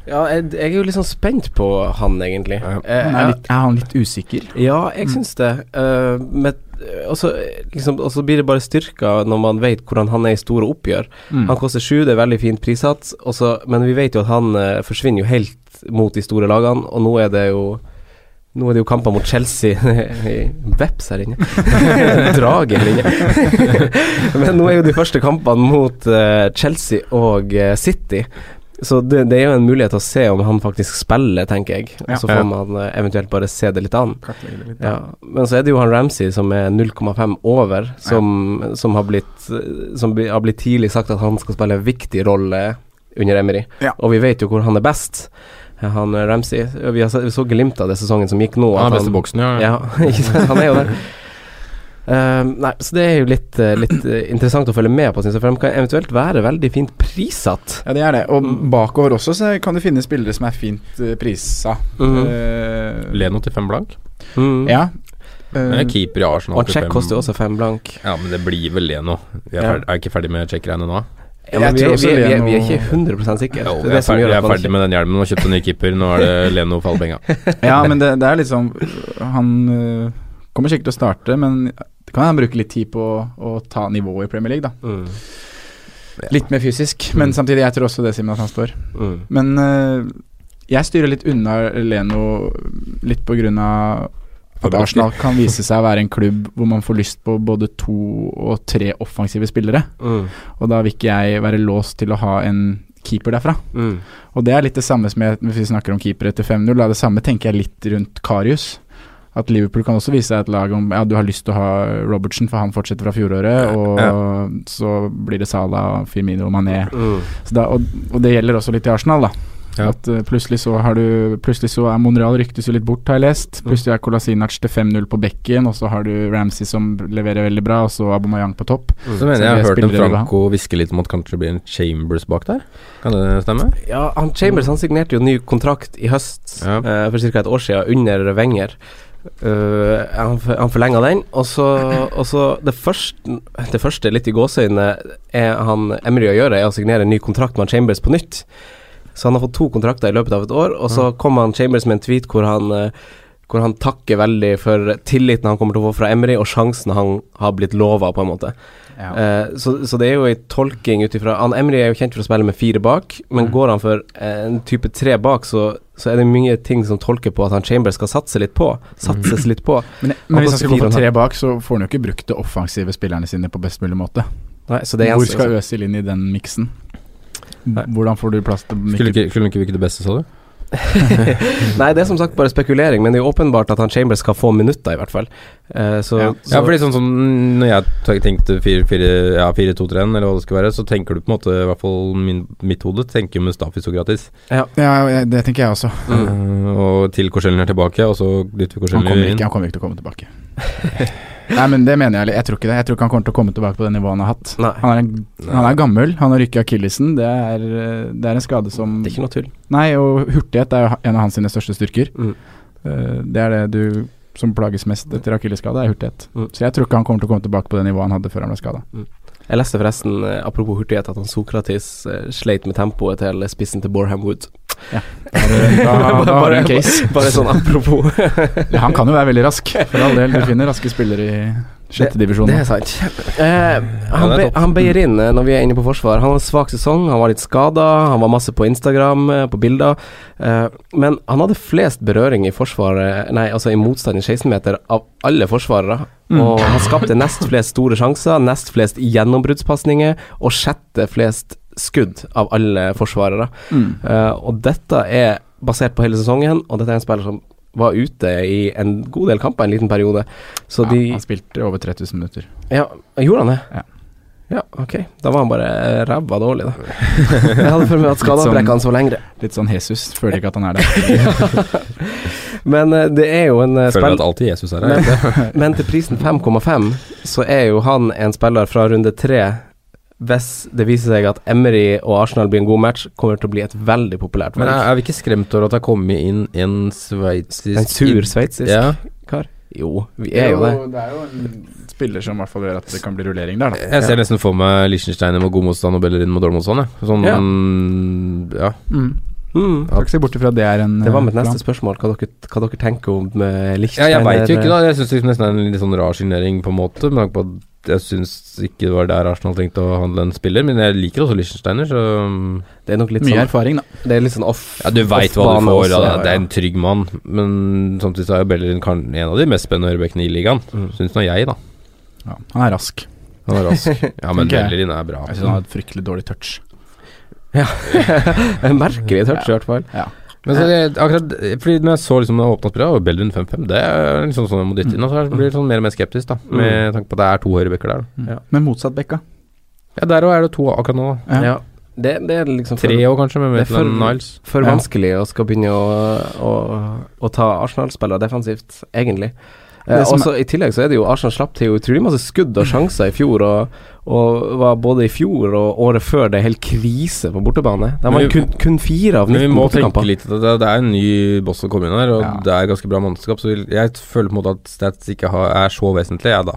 Speaker 4: Ja, jeg, jeg er jo litt sånn spent på han, egentlig.
Speaker 2: Ja.
Speaker 4: Eh,
Speaker 5: Han er, litt, er han litt usikker?
Speaker 4: ja, jeg
Speaker 2: Mm.
Speaker 4: syns det. Eh, men, eh, og så, eh, liksom, og så blir det bare styrka når man vet hvordan han er i store oppgjør.
Speaker 5: Mm.
Speaker 4: Han koster sju, det er veldig fint prissats, og så- men vi vet jo at han eh, forsvinner jo helt mot de store lagene, og nå er det jo nå er det jo kamper mot Chelsea i Veps her inne. Drage her inne. Men nå er jo de første kampene mot eh, Chelsea og eh, City. Så det, det er jo en mulighet til å se om han faktisk spiller, tenker jeg. Og så
Speaker 2: Ja.
Speaker 4: får man eh, eventuelt bare se det litt an.
Speaker 5: Kartlegger det litt, da.
Speaker 4: Ja. Men så er det jo han Ramsey som er 0,5 over, som, som, har blitt, eh, som bli- har blitt tidlig sagt at han skal spille en viktig rolle under Emery.
Speaker 5: Ja.
Speaker 4: Og vi vet jo hvor han er best, eh, han eh, Ramsey. Vi, har, se- vi så glimt av det sesongen som gikk nå.
Speaker 2: Han er
Speaker 4: at
Speaker 2: best i boksen, ja.
Speaker 4: Ja, ikke sant? han er jo der. Eh, nei, så det er jo litt, eh, litt eh, interessant å følge med på, synes jeg. For de kan eventuelt være veldig fint prissatt.
Speaker 5: Ja, det er det. Og bakover også så kan du finne spillere som er fint eh, prisa.
Speaker 4: Mhm.
Speaker 5: Eh,
Speaker 2: Leno til fem blank.
Speaker 4: Mm.
Speaker 5: Ja.
Speaker 2: Men
Speaker 5: Mm.
Speaker 2: jeg er keeper i Arsenal.
Speaker 4: Og Check koster jo også fem blank.
Speaker 2: Ja, men det blir vel det nå. Vi
Speaker 4: Ja.
Speaker 2: er, ferdig, er ikke ferdig med Check-greiene nå?
Speaker 4: Ja, men vi, er- vi, er- vi, er- vi er ikke 100 sikre.
Speaker 2: Jo,
Speaker 4: Det er
Speaker 2: vi
Speaker 4: det
Speaker 2: er
Speaker 4: som
Speaker 2: ferdig,
Speaker 4: gjør
Speaker 2: vi
Speaker 4: at
Speaker 2: er
Speaker 4: man
Speaker 2: ferdig med den hjelmen og kjøpte ny keeper. Nå er det Leno Fallbenga.
Speaker 5: Eh, ja, men det, det er liksom Han øh, kommer sikkert til å starte, men det kan han bruke litt tid på å, å ta nivået i Premier League, da.
Speaker 4: Mm,
Speaker 5: Litt mer fysisk, men samtidig jeg tror også det, Simen, at han står.
Speaker 4: Mm.
Speaker 5: Men øh, jeg styrer litt unna Leno litt på grunn av at
Speaker 2: Fabregas.
Speaker 5: Arsenal kan vise seg å være en klubb hvor man får lyst på både to og tre offensive spillere.
Speaker 4: Mm.
Speaker 5: Og da vil ikke jeg være låst til å ha en keeper derfra.
Speaker 4: Mm.
Speaker 5: Og det er litt det samme som jeg, hvis vi snakker om keepere etter 5-0, da, det samme tenker jeg litt rundt Karius. At Liverpool kan også vise seg et lag om Ja, du har lyst til å ha Robertsen, for han fortsetter fra fjoråret, og så blir det Salah, Firmino og Mané.
Speaker 4: Mm.
Speaker 5: Så da, og, og det gjelder også litt i Arsenal, da. At eh, plutselig så har du Plutselig så er Monreal ryktes jo litt bort, har jeg lest.
Speaker 2: Mm.
Speaker 5: Plutselig er Kolasinac til 5-0 på bekken, og så har du Ramsey som leverer veldig bra, og så Aubameyang på topp.
Speaker 2: Så mener
Speaker 5: det
Speaker 2: jeg jeg har
Speaker 5: er
Speaker 2: hørt en
Speaker 5: spillere du vil ha.
Speaker 2: Franco hviske litt om at kanskje det blir en Chambers bak der. Kan det stemme?
Speaker 4: Ja, han Chambers han signerte jo ny kontrakt i høst
Speaker 2: Ja.
Speaker 4: eh, for ca. et år siden, under Wenger. Eh, han for- han forlenga den, og så, og så det, første, det første, litt i gåseøynene, er han Emry å gjøre, er å signere en ny kontrakt med han Chambers på nytt. Så han har fått to kontrakter i løpet av et år, og så kom han Chambers med en tweet hvor han eh, hvor han takker veldig for tilliten han kommer til å få fra Emry, og sjansen han har blitt lova, på en måte. Eh, så, så det er jo en tolking ut ifra Han Emry er jo kjent for å spille med fire bak,
Speaker 5: Mm.
Speaker 4: men går han for eh, en type tre bak, så, så er det mye ting som tolker på at han Chambers skal satse litt på.
Speaker 5: Mm.
Speaker 4: Satses litt på.
Speaker 5: Men,
Speaker 4: Han
Speaker 5: men hvis han
Speaker 4: koster
Speaker 5: skal
Speaker 4: fire og
Speaker 5: gå for
Speaker 4: en
Speaker 5: tre bak, så får han jo ikke brukt de offensive spillerne sine på best mulig måte.
Speaker 4: Nei, så det
Speaker 5: Hvor
Speaker 4: gjenstår
Speaker 5: skal Øzil inn i den miksen? Hvordan får du plass til
Speaker 2: Skulle
Speaker 5: Mikkel?
Speaker 2: ikke, skulle ikke virke det beste, sa du?
Speaker 4: Nei, det er som sagt bare spekulering, men det er jo åpenbart at han Chambers skal få minutter, i hvert fall. Eh, så,
Speaker 5: Ja.
Speaker 4: så
Speaker 2: Ja, fordi sånn som når jeg te- tenkte 4-2-3-1, ja, 4-2-3-1, eller hva det skulle være, så tenker du på en måte, i hvert fall min, mitt hode, tenker Mustafi Sokratis.
Speaker 5: Ja, jeg- det tenker jeg også.
Speaker 4: Mm.
Speaker 2: Eh, og til Korselny er tilbake, og så dytter vi
Speaker 5: Han kommer,
Speaker 2: Korselny
Speaker 5: ikke,
Speaker 2: inn.
Speaker 5: han kommer ikke til å komme tilbake. Nei, men det mener jeg. litt. Jeg tror ikke det. Jeg tror ikke han kommer til å komme tilbake på det nivået han har hatt.
Speaker 4: Nei.
Speaker 5: Han er, en, han er gammel, han har rykket akillesen. Det, er, eh, det er en skade som
Speaker 4: det er ikke noe tull.
Speaker 5: Nei, og hurtighet er jo ha- en av hans sine største styrker.
Speaker 4: Mm.
Speaker 5: Eh, Det er det du som plages mest etter akillesskade, er hurtighet.
Speaker 4: Mm.
Speaker 5: Så jeg tror ikke han kommer til å komme tilbake på det nivået han hadde før han ble skada.
Speaker 4: Jeg leste forresten, eh, apropos hurtighet, at han Sokratis eh, sleit med tempoet til spissen til Borham Wood.
Speaker 5: Da, da har du
Speaker 4: bare,
Speaker 5: en case.
Speaker 4: bare sånn apropos.
Speaker 5: Ja, han kan jo være veldig rask, for all del. Du finner raske spillere i sjette divisjon.
Speaker 4: Det er sant. Eh, han,
Speaker 2: det er
Speaker 4: be,
Speaker 2: topp.
Speaker 4: han beier inn eh, når vi er inne på forsvar. Han har en svak sesong, han var litt skada, han var masse på Instagram, eh, på bilder. Eh, men han hadde flest berøring i forsvaret, nei, altså i motstand i 16-meter av alle forsvarere. Og han skapte nest flest store sjanser, nest flest gjennombruddspasninger og sjette flest skudd av alle forsvarere.
Speaker 5: Mm.
Speaker 4: Eh, og dette er basert på hele sesongen, og dette er en spiller som var ute i en god del kamper en liten periode. Så
Speaker 5: Ja, altså,
Speaker 4: de
Speaker 5: han spilte over 3000 minutter.
Speaker 4: ja, gjorde han det?
Speaker 5: Ja.
Speaker 4: Ja, ok. Da var han bare eh, ræva dårlig, da. Jeg hadde følt meg at
Speaker 5: Litt
Speaker 4: skadebrekkene så lengre.
Speaker 5: Litt sånn Jesus. Føler ikke at han er der.
Speaker 4: Men eh, det er jo en eh,
Speaker 2: Føler
Speaker 4: spill...
Speaker 2: at alltid Jesus er her.
Speaker 4: Men, men til prisen 5,5 så er jo han en spiller fra runde tre. Hvis det viser seg at Emery og Arsenal blir en god match, kommer det til å bli et veldig populært
Speaker 2: Men
Speaker 4: valg.
Speaker 2: er, er vi ikke skremt over at det har kommet inn en sveitsisk
Speaker 4: En sur sveitsisk
Speaker 2: Ja,
Speaker 4: kar? Jo, vi er jo det.
Speaker 5: er jo en spiller som i hvert fall gjør at det kan bli rullering der, da.
Speaker 2: Jeg ser nesten for meg Liechtenstein med god motstand og Bellerin med dårlig motstand. jeg. Sånn,
Speaker 4: Ja.
Speaker 2: ja.
Speaker 5: Mm.
Speaker 4: Mm.
Speaker 5: Skal ikke se bort ifra at det er en
Speaker 4: Det var mitt
Speaker 5: eh,
Speaker 4: neste spørsmål, hva dere, hva dere tenker om eh,
Speaker 2: ja
Speaker 4: Liechtenstein.
Speaker 2: jeg veit jo ikke,
Speaker 4: eller-
Speaker 2: da. Jeg syns det nesten er en litt sånn rar signering, på en måte. Med tanke på at jeg syns ikke det var der Arsenal trengte å handle en spiller. Men jeg liker også Liechtensteiner, så
Speaker 4: Det er nok litt
Speaker 5: Mye
Speaker 4: sånn,
Speaker 5: erfaring, da.
Speaker 4: det er litt sånn off
Speaker 2: Ja, du veit hva du
Speaker 4: off-bane
Speaker 2: får.
Speaker 4: også,
Speaker 2: da.
Speaker 4: ja,
Speaker 2: Det
Speaker 4: ja.
Speaker 2: er en trygg mann. Men samtidig så er jo Bellerin kan- en av de mest spennende høyrebekkene i ligaen.
Speaker 4: Mm.
Speaker 2: Syns nå jeg, da.
Speaker 5: Ja, han er rask.
Speaker 2: Han er rask. Ja, men
Speaker 5: Tenker jeg.
Speaker 2: Bellerin er bra.
Speaker 5: Jeg synes han har et fryktelig dårlig touch.
Speaker 4: En merkelig touch, i hvert fall.
Speaker 2: Men så, jeg, akkurat Fordi når jeg så liksom det åpna spillet, og Bellerin 5-5, det er liksom sånn jeg må dytte inn. Og så blir jeg sånn mer og mer skeptisk, da. Med tanke på at det er to høyrebekker der. da.
Speaker 5: Mm. Men motsatt bekka.
Speaker 2: Ja, der òg er det to akkurat nå. da.
Speaker 5: Ja.
Speaker 4: Ja. Det, det er liksom
Speaker 2: Tre
Speaker 4: for,
Speaker 2: òg, kanskje, med
Speaker 4: Det er for-
Speaker 2: Maitland Niles.
Speaker 4: for
Speaker 5: Ja.
Speaker 4: vanskelig å skal begynne å, å, å ta Arsenal-spillere defensivt, egentlig. Eh,
Speaker 5: Det som
Speaker 4: og så I tillegg så er det jo Arsenal slapp til jo utrolig masse skudd og sjanser i fjor, og, og var både i fjor og året før det helt krise på bortebane. De
Speaker 2: Men
Speaker 4: var
Speaker 2: vi-
Speaker 4: kun, kun fire av
Speaker 2: Men
Speaker 4: 19
Speaker 2: vi må tenke
Speaker 4: bortekamper.
Speaker 2: litt at det, det er en ny boss som kommer inn her, og det er ganske bra mannskap, så vi- jeg føler på en måte at stats ikke har, er så vesentlig, jeg, da.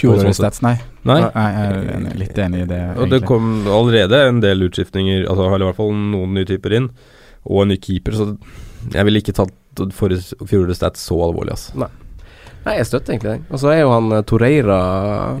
Speaker 5: Fjorårets stats, nei.
Speaker 2: Nei.
Speaker 5: Jeg er enig- litt enig i det,
Speaker 2: Og det
Speaker 5: egentlig.
Speaker 2: kom allerede en del utskiftninger, altså eller i hvert fall noen nye typer inn, og en ny keeper, så jeg ville ikke tatt forrige- fjorårets stats så alvorlig, altså.
Speaker 4: Nei. Nei, jeg støtter egentlig den. Og så er jo han eh, Torreira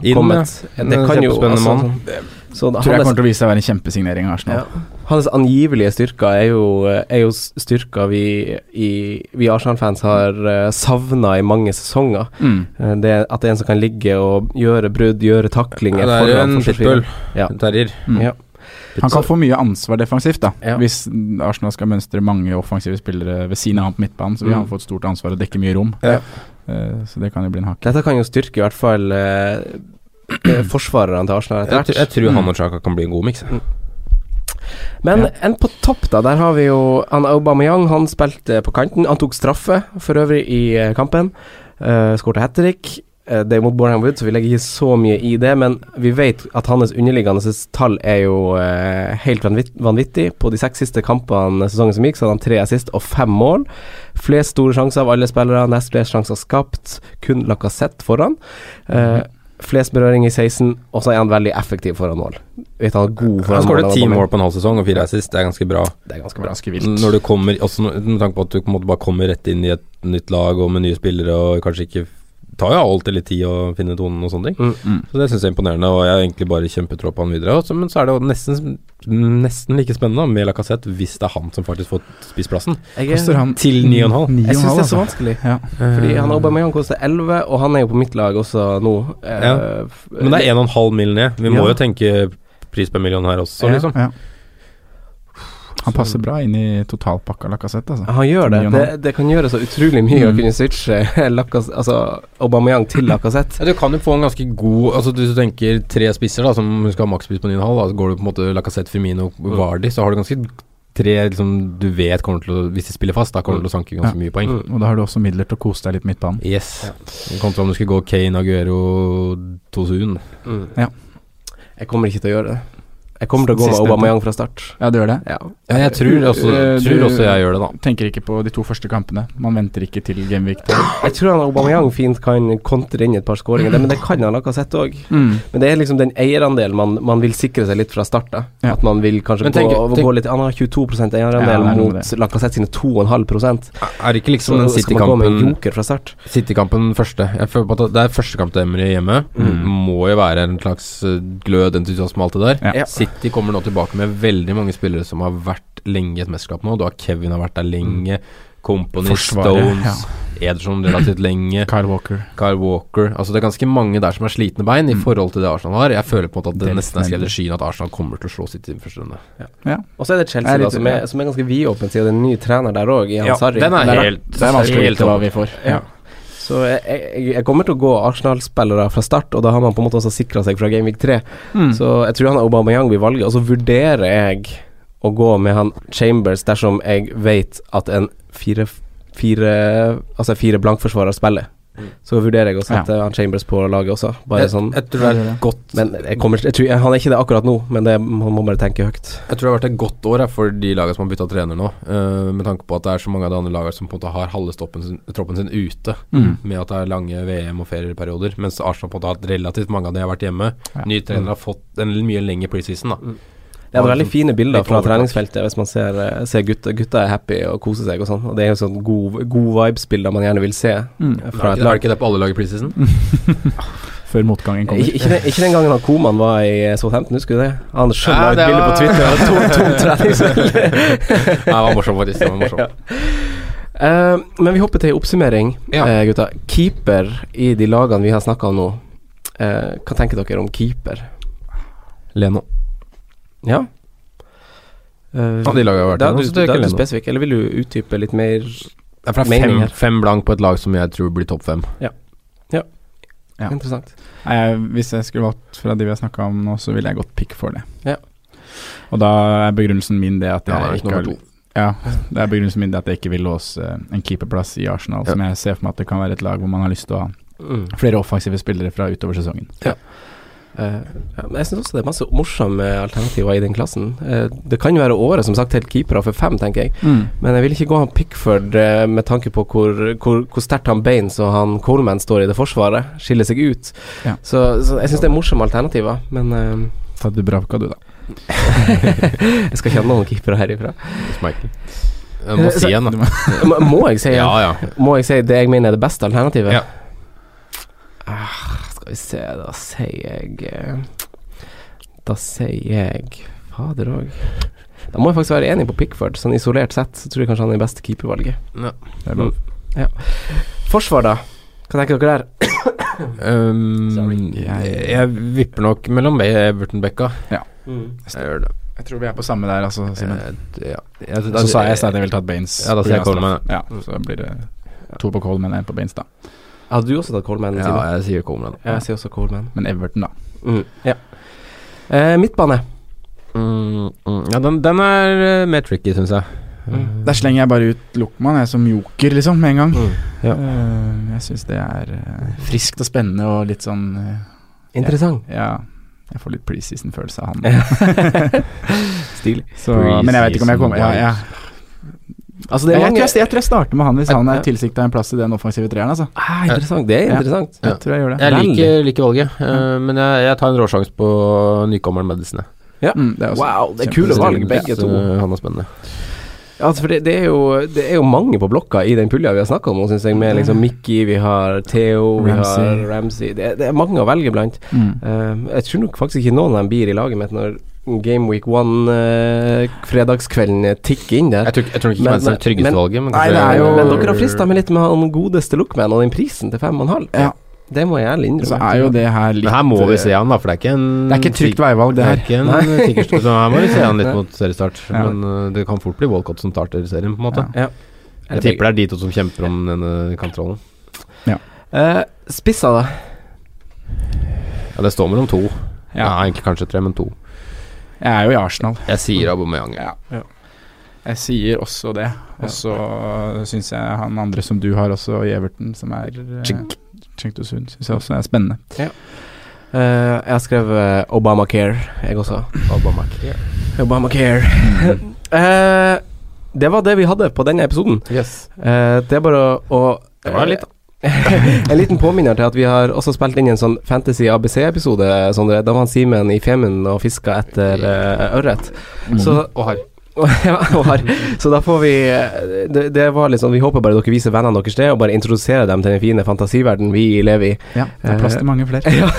Speaker 2: Inn,
Speaker 4: kommet. Eh,
Speaker 2: ja.
Speaker 4: Det kan jo
Speaker 2: Kjempespennende
Speaker 4: altså,
Speaker 2: mann.
Speaker 4: sånn- så
Speaker 5: Tror jeg
Speaker 4: hans-
Speaker 5: kommer til å vise seg å være en kjempesignering av Arsenal.
Speaker 4: Ja. Hans angivelige styrker er jo, er jo styrker vi, i- vi Arsenal-fans har savna i mange sesonger.
Speaker 5: Mm.
Speaker 4: Eh, Det, at det er en som kan ligge og gjøre brudd, gjøre taklinger
Speaker 2: Ja, det er
Speaker 4: foran
Speaker 2: en
Speaker 4: forsvarslinjen.
Speaker 2: pitbull.
Speaker 4: Ja.
Speaker 2: En terrier.
Speaker 5: Mm.
Speaker 4: Ja.
Speaker 5: Han kan få mye ansvar defensivt, da.
Speaker 4: Ja.
Speaker 5: Hvis Arsenal skal mønstre mange offensive spillere ved siden av han på midtbanen, så
Speaker 4: Mm.
Speaker 5: vil han få et stort ansvar og dekke mye rom.
Speaker 4: Ja.
Speaker 5: Eh, Så det kan jo bli en hake.
Speaker 4: Dette kan jo styrke i hvert fall eh, eh, forsvarerne til Arsenal etter
Speaker 2: Jeg, tr- jeg
Speaker 4: hvert.
Speaker 2: tror han
Speaker 5: Mm.
Speaker 2: og Chaka kan bli en god miks.
Speaker 4: Men
Speaker 5: Ja.
Speaker 4: en på topp, da. Der har vi jo han Aubameyang. Han spilte på kanten. Han tok straffe, for øvrig, i eh, kampen. Uh, Skårte hat trick. Eh, det er mot Bornham Wood, så vi legger ikke så mye i det. Men vi vet at hans underliggende tall er jo eh, helt vanvit- vanvittig. På de seks siste kampene sesongen som gikk, så hadde han tre assist og fem mål. Flest store sjanser av alle spillere. Nest flest sjanser skapt. Kun Lacassette foran.
Speaker 2: Mhm.
Speaker 4: Eh, Flest berøring i 16, og så er han veldig effektiv foran mål. Vet han er god foran
Speaker 2: Han skåret
Speaker 4: mål,
Speaker 2: ti
Speaker 4: Aubameyang.
Speaker 2: mål på en halv sesong og fire assist, det er ganske bra.
Speaker 4: Det er ganske bra.
Speaker 5: Ganske vilt.
Speaker 2: Når du kommer, også når- med tanke på at du på en måte bare kommer rett inn i et nytt lag og med nye spillere og kanskje ikke det tar jo alltid litt tid å finne tonen og sånne ting.
Speaker 4: Mm,
Speaker 5: mm.
Speaker 2: Så det syns jeg er imponerende, og jeg har egentlig bare kjempetro på han videre. Og så- men så er det jo nesten, nesten like spennende med Lacassette hvis det er han som faktisk får spissplassen.
Speaker 4: Jeg,
Speaker 5: Koster han
Speaker 2: Til 9,5.
Speaker 5: ni og en
Speaker 4: jeg syns
Speaker 5: halv,
Speaker 4: det er så
Speaker 5: altså.
Speaker 4: vanskelig.
Speaker 5: Ja.
Speaker 4: Fordi han Aubameyang koster 11, og han er jo på mitt lag også nå. Eh,
Speaker 2: Ja. Men det er 1,5 mil ned. Vi må
Speaker 4: Ja.
Speaker 2: jo tenke pris per million her også,
Speaker 4: Ja.
Speaker 2: liksom.
Speaker 5: Ja. Han passer bra inn i totalpakka Lacassette, altså.
Speaker 4: Han gjør det.
Speaker 5: Mye og
Speaker 4: det.
Speaker 5: en
Speaker 4: Det kan gjøre så utrolig mye å
Speaker 5: Mm.
Speaker 4: kunne switche Lacasse- altså Aubameyang til Lacassette.
Speaker 2: Ja, du kan jo få en ganske god Altså Hvis du tenker tre spisser da som skal ha makspris på 9,5, da, så går du på en måte Lacassette, Firmino og Vardi, så har du ganske tre liksom, du vet kommer til å Hvis de spiller fast, da kommer det til å sanke ganske mye poeng.
Speaker 5: Og da har du også midler til å kose deg litt midtbanen.
Speaker 2: Yes. Kontra om du skulle gå Kane, Aguero, Tosun.
Speaker 4: Jeg kommer ikke til å gjøre det. Jeg kommer til å gå med
Speaker 5: Siste-
Speaker 4: Aubameyang fra start.
Speaker 5: Ja, du gjør det?
Speaker 4: Ja.
Speaker 2: Ja, jeg tror også,
Speaker 5: Eh,
Speaker 2: tror
Speaker 5: du-
Speaker 2: også jeg gjør det, da.
Speaker 5: Tenker ikke på de to første kampene. Man venter ikke til Gameweek 3.
Speaker 4: Jeg tror han Aubameyang fint kan kontre inn et par skåringer, men det kan han Lacassette òg.
Speaker 5: Mm.
Speaker 4: Men det er liksom den eierandelen man, man vil sikre seg litt fra start. da.
Speaker 5: Ja.
Speaker 4: At man vil kanskje
Speaker 2: Men tenk-
Speaker 4: gå,
Speaker 2: tenk-
Speaker 4: gå litt Han har 22
Speaker 5: Ja, det
Speaker 4: eierandel
Speaker 5: er noe med
Speaker 4: mot Lacassette sine 2,5
Speaker 2: Er det ikke liksom den
Speaker 4: Så skal man gå med en
Speaker 2: City-kampen
Speaker 4: joker fra start.
Speaker 2: City-kampen første Jeg føler på at Det er første kamp til Emry hjemme.
Speaker 5: Mm.
Speaker 2: Må jo være en slags eh, glød, entusiasme, alt det der.
Speaker 5: Ja.
Speaker 4: Ja.
Speaker 2: City kommer nå tilbake med veldig mange spillere som har vært lenge i et mesterskap nå. Du har Kevin har vært der lenge. Company,
Speaker 5: Mm. Forsvaret,
Speaker 2: Stones, Ederson relativt lenge.
Speaker 5: Kyle Walker.
Speaker 2: Kyle Walker Altså Det er ganske mange der som har slitne bein
Speaker 5: Mm.
Speaker 2: i forhold til det Arsenal har. Jeg føler på en måte at det,
Speaker 5: Det er
Speaker 2: nesten er
Speaker 5: litt
Speaker 2: skrevet i skyen at Arsenal kommer til å slå City i første runde.
Speaker 4: Og så er det Chelsea,
Speaker 5: Jeg er litt-
Speaker 4: da, som er, som er ganske vidåpen siden det er en ny trener der òg, i
Speaker 2: Ja,
Speaker 4: Hans Harry.
Speaker 2: den er
Speaker 4: Der-
Speaker 2: helt-
Speaker 5: Det er vanskelig å
Speaker 2: Helt
Speaker 5: vite hva
Speaker 2: over.
Speaker 5: vi får.
Speaker 4: Ja. eh, Så jeg, jeg, jeg kommer til å gå Arsenal-spillere fra start, og da har man på en måte også sikra seg fra Gameweek 3.
Speaker 2: Hmm.
Speaker 5: Mm.
Speaker 4: Så jeg tror han Aubameyang blir valget, og så vurderer jeg å gå med han Chambers dersom jeg vet at en fire, fire Altså fire blankforsvarer spiller. Så vurderer jeg å sette han Chambers på laget også, bare
Speaker 2: Hmm. Jeg,
Speaker 4: sånn.
Speaker 2: jeg tror det er et godt
Speaker 4: Men jeg kommer, jeg tror, han er ikke det akkurat nå, men det, man må bare tenke høyt.
Speaker 2: Jeg tror det har vært et godt år jeg, for de lagene som har bytta trener nå, eh, med tanke på at det er så mange av de andre lagene som på en måte har halve stoppen sin, troppen sin ute,
Speaker 5: Mm.
Speaker 2: med at det er lange VM- og ferieperioder, mens Arsenal på en måte har hatt relativt mange av de har vært hjemme.
Speaker 5: Ja.
Speaker 2: Nye trenere har fått en mye lengre preseason, da.
Speaker 4: Mm. Det er veldig fine bilder
Speaker 2: Litt
Speaker 4: fra
Speaker 2: overtak.
Speaker 4: treningsfeltet hvis man ser, eh, ser gutta. Gutta er happy og koser seg og sånn. Og det er jo sånn god, god vibes-bilder man gjerne vil se
Speaker 5: Mm.
Speaker 4: fra
Speaker 2: er,
Speaker 4: et
Speaker 2: det, er
Speaker 4: lag.
Speaker 2: det ikke det på alle lag i preseason?
Speaker 5: Før motgangen
Speaker 4: Ik-
Speaker 5: kommer.
Speaker 4: Ikke, den- ikke den gangen han Koman var i eh, Southampton, husker du det? Han sjøl
Speaker 2: Ja,
Speaker 4: la ut
Speaker 2: det
Speaker 4: bilde
Speaker 2: var-
Speaker 4: på Twitter av to, to treningsfelter.
Speaker 2: Nei, det var morsomt, faktisk. Det var morsomt.
Speaker 4: Eh, men vi hopper til oppsummering,
Speaker 2: Ja.
Speaker 4: eh, gutta. Keeper i de lagene vi har snakka om nå. Eh, hva tenker dere om keeper?
Speaker 2: Leno.
Speaker 4: Ja? Eh,
Speaker 2: Ja, de lagene har vært
Speaker 4: da,
Speaker 2: igjennom,
Speaker 4: du,
Speaker 2: så det er
Speaker 4: da
Speaker 2: ikke
Speaker 4: er du
Speaker 2: Leno.
Speaker 4: spesifikk, eller vil du utdype litt mer?
Speaker 2: Det er fra fem,
Speaker 4: Meninger.
Speaker 2: fem blank på et lag som jeg tror blir topp fem.
Speaker 5: Ja.
Speaker 4: Interessant.
Speaker 5: Nei, jeg, hvis jeg skulle valgt fra de vi har snakka om nå, så ville jeg gått pick for det.
Speaker 4: Ja.
Speaker 5: Og da er begrunnelsen min det at
Speaker 2: Ja, det er
Speaker 5: jeg
Speaker 2: ikke
Speaker 5: ikke har
Speaker 2: nummer to.
Speaker 5: Ja, det er begrunnelsen min det at jeg ikke vil låse eh, en keeperplass i Arsenal, som jeg ser for meg at det kan være et lag hvor man har lyst til å ha
Speaker 4: Mm.
Speaker 5: flere offensive spillere fra utover sesongen.
Speaker 4: Eh, ja, men jeg syns også det er masse morsomme alternativer i den klassen. Eh, det kan jo være året, som sagt, helt keepere for fem, tenker jeg.
Speaker 5: Mm.
Speaker 4: Men jeg vil ikke gå han Pickford eh, med tanke på hvor, hvor, hvor sterkt han Baines og han Coleman står i det forsvaret. Skiller seg ut.
Speaker 5: Ja.
Speaker 4: Så, så jeg syns det er morsomme alternativer, men eh,
Speaker 5: Ta Dubravka, du, da.
Speaker 4: jeg skal ikke ha noen keepere herifra.
Speaker 2: Michael. Jeg må
Speaker 5: Eh,
Speaker 2: si en,
Speaker 5: du
Speaker 2: da.
Speaker 5: må-
Speaker 4: Må, må jeg si
Speaker 2: Ja, ja.
Speaker 4: Må jeg si det jeg mener er det beste alternativet?
Speaker 2: Ja.
Speaker 4: Ah, skal vi se, da sier jeg eh, Da sier jeg Fader òg. Da må jeg faktisk være enig på Pickford, sånn isolert sett. Så tror jeg kanskje han er det beste keepervalget.
Speaker 5: Det er lov.
Speaker 4: Forsvar, da? Hva tenker dere der?
Speaker 2: Um, jeg, jeg vipper nok mellom meg og Everton-bekka.
Speaker 4: Mm.
Speaker 2: Jeg gjør det.
Speaker 5: Jeg tror vi er på samme der, altså, Simen.
Speaker 2: Eh, ja. Jeg-
Speaker 5: Så sa jeg i stad at jeg ville tatt Baines.
Speaker 2: Ja, da sier jeg
Speaker 5: På grunn av
Speaker 2: Coleman,
Speaker 5: straff. Ja, så blir det to på Coleman og én på Baines, da.
Speaker 4: Hadde du også tatt Coleman?
Speaker 2: Ja,
Speaker 4: Simen?
Speaker 2: jeg sier Coleman.
Speaker 4: Ja, jeg sier også Coleman.
Speaker 5: Men Everton, da.
Speaker 4: Mm, ja. Eh, midtbane.
Speaker 2: Mm, mm, ja, den, den er eh, mer tricky, syns jeg. Eh,
Speaker 5: Der slenger jeg bare ut Luckman, jeg som joker, liksom, med en gang.
Speaker 4: Mm,
Speaker 2: ja.
Speaker 5: Eh, jeg syns det er eh, friskt og spennende og litt sånn eh,
Speaker 4: Interessant.
Speaker 5: Ja, jeg får litt preseason-følelse av han.
Speaker 4: Ja. Stilig.
Speaker 5: Så, men jeg vet ikke om jeg kommer ja, ja.
Speaker 4: Altså,
Speaker 5: Jeg, tror jeg, jeg tror jeg starter med han hvis han
Speaker 4: Ja.
Speaker 5: er tilsikta en plass i den offensive treeren, altså.
Speaker 4: Ah, interessant. Det er
Speaker 5: Ja.
Speaker 4: interessant.
Speaker 2: Ja.
Speaker 5: Jeg tror jeg gjør det.
Speaker 2: Jeg
Speaker 4: Veldig.
Speaker 2: liker, liker valget, eh, men jeg, jeg tar en råsjanse på nykommeren Medicine.
Speaker 5: Mm, det er også
Speaker 4: Wow, det er
Speaker 5: kjempe-
Speaker 4: kule valg, begge
Speaker 2: Så
Speaker 4: to.
Speaker 2: eh, Han er spennende.
Speaker 4: Ja, altså, for det, det, er jo, det er jo mange på blokka i den pulja vi har snakka om, nå, synes jeg, med liksom Mickey, vi har Theo, vi
Speaker 5: Ramsey.
Speaker 4: har Ramsey det, er- det er mange å velge blant.
Speaker 5: Mm.
Speaker 4: Eh, jeg tror nok faktisk ikke noen av dem blir i laget mitt når Game Week 1 eh, fredagskvelden tikker inn der.
Speaker 2: Jeg tror, ikke- jeg tror ikke
Speaker 4: Men-
Speaker 2: Madison er det tryggeste
Speaker 4: men-
Speaker 2: valget, men
Speaker 5: Nei,
Speaker 2: kanskje-
Speaker 5: det er jo-
Speaker 4: Men dere har frista meg litt med han godeste Lookman og den prisen til 5,5.
Speaker 5: Ja.
Speaker 4: Det må jeg ærlig innrømme.
Speaker 5: Så er jo det her litt eh,
Speaker 2: Men her må vi se han, da, for det er ikke en
Speaker 5: Det er ikke et trygt veivalg,
Speaker 2: Det
Speaker 5: det
Speaker 2: er
Speaker 5: her.
Speaker 2: ikke en sikker Så her må vi se han litt mot seriestart.
Speaker 5: Ja.
Speaker 2: Men eh, det kan fort bli Walcott som starter serien, på en måte.
Speaker 4: Ja.
Speaker 2: Jeg tipper det er de to som kjemper om denne kantrollen.
Speaker 4: Eh, Spissa, da.
Speaker 2: Ja, det står mellom to. Ja.
Speaker 5: Ja.
Speaker 2: Nei, ikke kanskje tre, men to.
Speaker 5: Jeg er jo i Arsenal.
Speaker 2: Jeg sier Aubameyang. Ja.
Speaker 5: Jeg sier også det. Og så syns jeg han andre som du har også i Everton, som er eh,
Speaker 4: Chink.
Speaker 5: Chengtosund, syns jeg også er spennende.
Speaker 4: Eh, jeg har skrevet Obamacare, jeg også.
Speaker 2: Aubameyang.
Speaker 4: Obamacare. Eh, det var det vi hadde på denne episoden.
Speaker 2: Yes.
Speaker 4: Eh, det er bare å eh,
Speaker 2: Det var litt,
Speaker 4: en liten påminner til at vi har også spilt inn en sånn Fantasy
Speaker 2: Mm.
Speaker 4: ABC-episode, Sondre. Da var han Simen i Femunden og fiska etter eh, ørret. Så
Speaker 2: Og har.
Speaker 4: ja, og har. Så da får vi eh, det, det var litt sånn Vi håper bare dere viser vennene deres det, og bare introduserer dem til den fine fantasiverdenen vi lever i.
Speaker 5: Ja, det er plass til mange flere.
Speaker 4: Ja.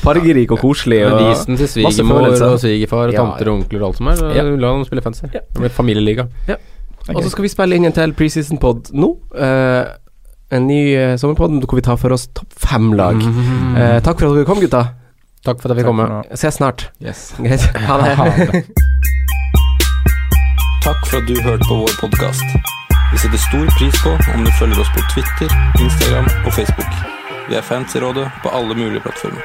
Speaker 4: Fargerik og koselig.
Speaker 2: Men
Speaker 4: Og
Speaker 2: Visen til
Speaker 4: masse
Speaker 2: svigermor
Speaker 4: følelser.
Speaker 2: og svigerfar og
Speaker 4: Ja.
Speaker 2: tanter og onkler og alt som er.
Speaker 4: Ja.
Speaker 2: La dem spille fancy.
Speaker 4: Ja.
Speaker 2: Det blir familieliga.
Speaker 5: Det er
Speaker 4: Og så
Speaker 5: gøy.
Speaker 4: skal vi spille inn en til preseason pod nå. Eh, en ny eh, sommerpod hvor vi tar for oss topp fem lag. Eh, takk for at dere kom, gutta.
Speaker 2: Takk for at
Speaker 5: Takk
Speaker 2: jeg fikk komme.
Speaker 5: for nå.
Speaker 4: Ses snart.
Speaker 5: Yes.
Speaker 4: Greit. Ha
Speaker 5: Ha
Speaker 4: det.
Speaker 5: det.
Speaker 6: Takk for at du hørte på vår podkast. Vi setter stor pris på om du følger oss på Twitter, Instagram og Facebook. Vi er fans i rådet på alle mulige plattformer.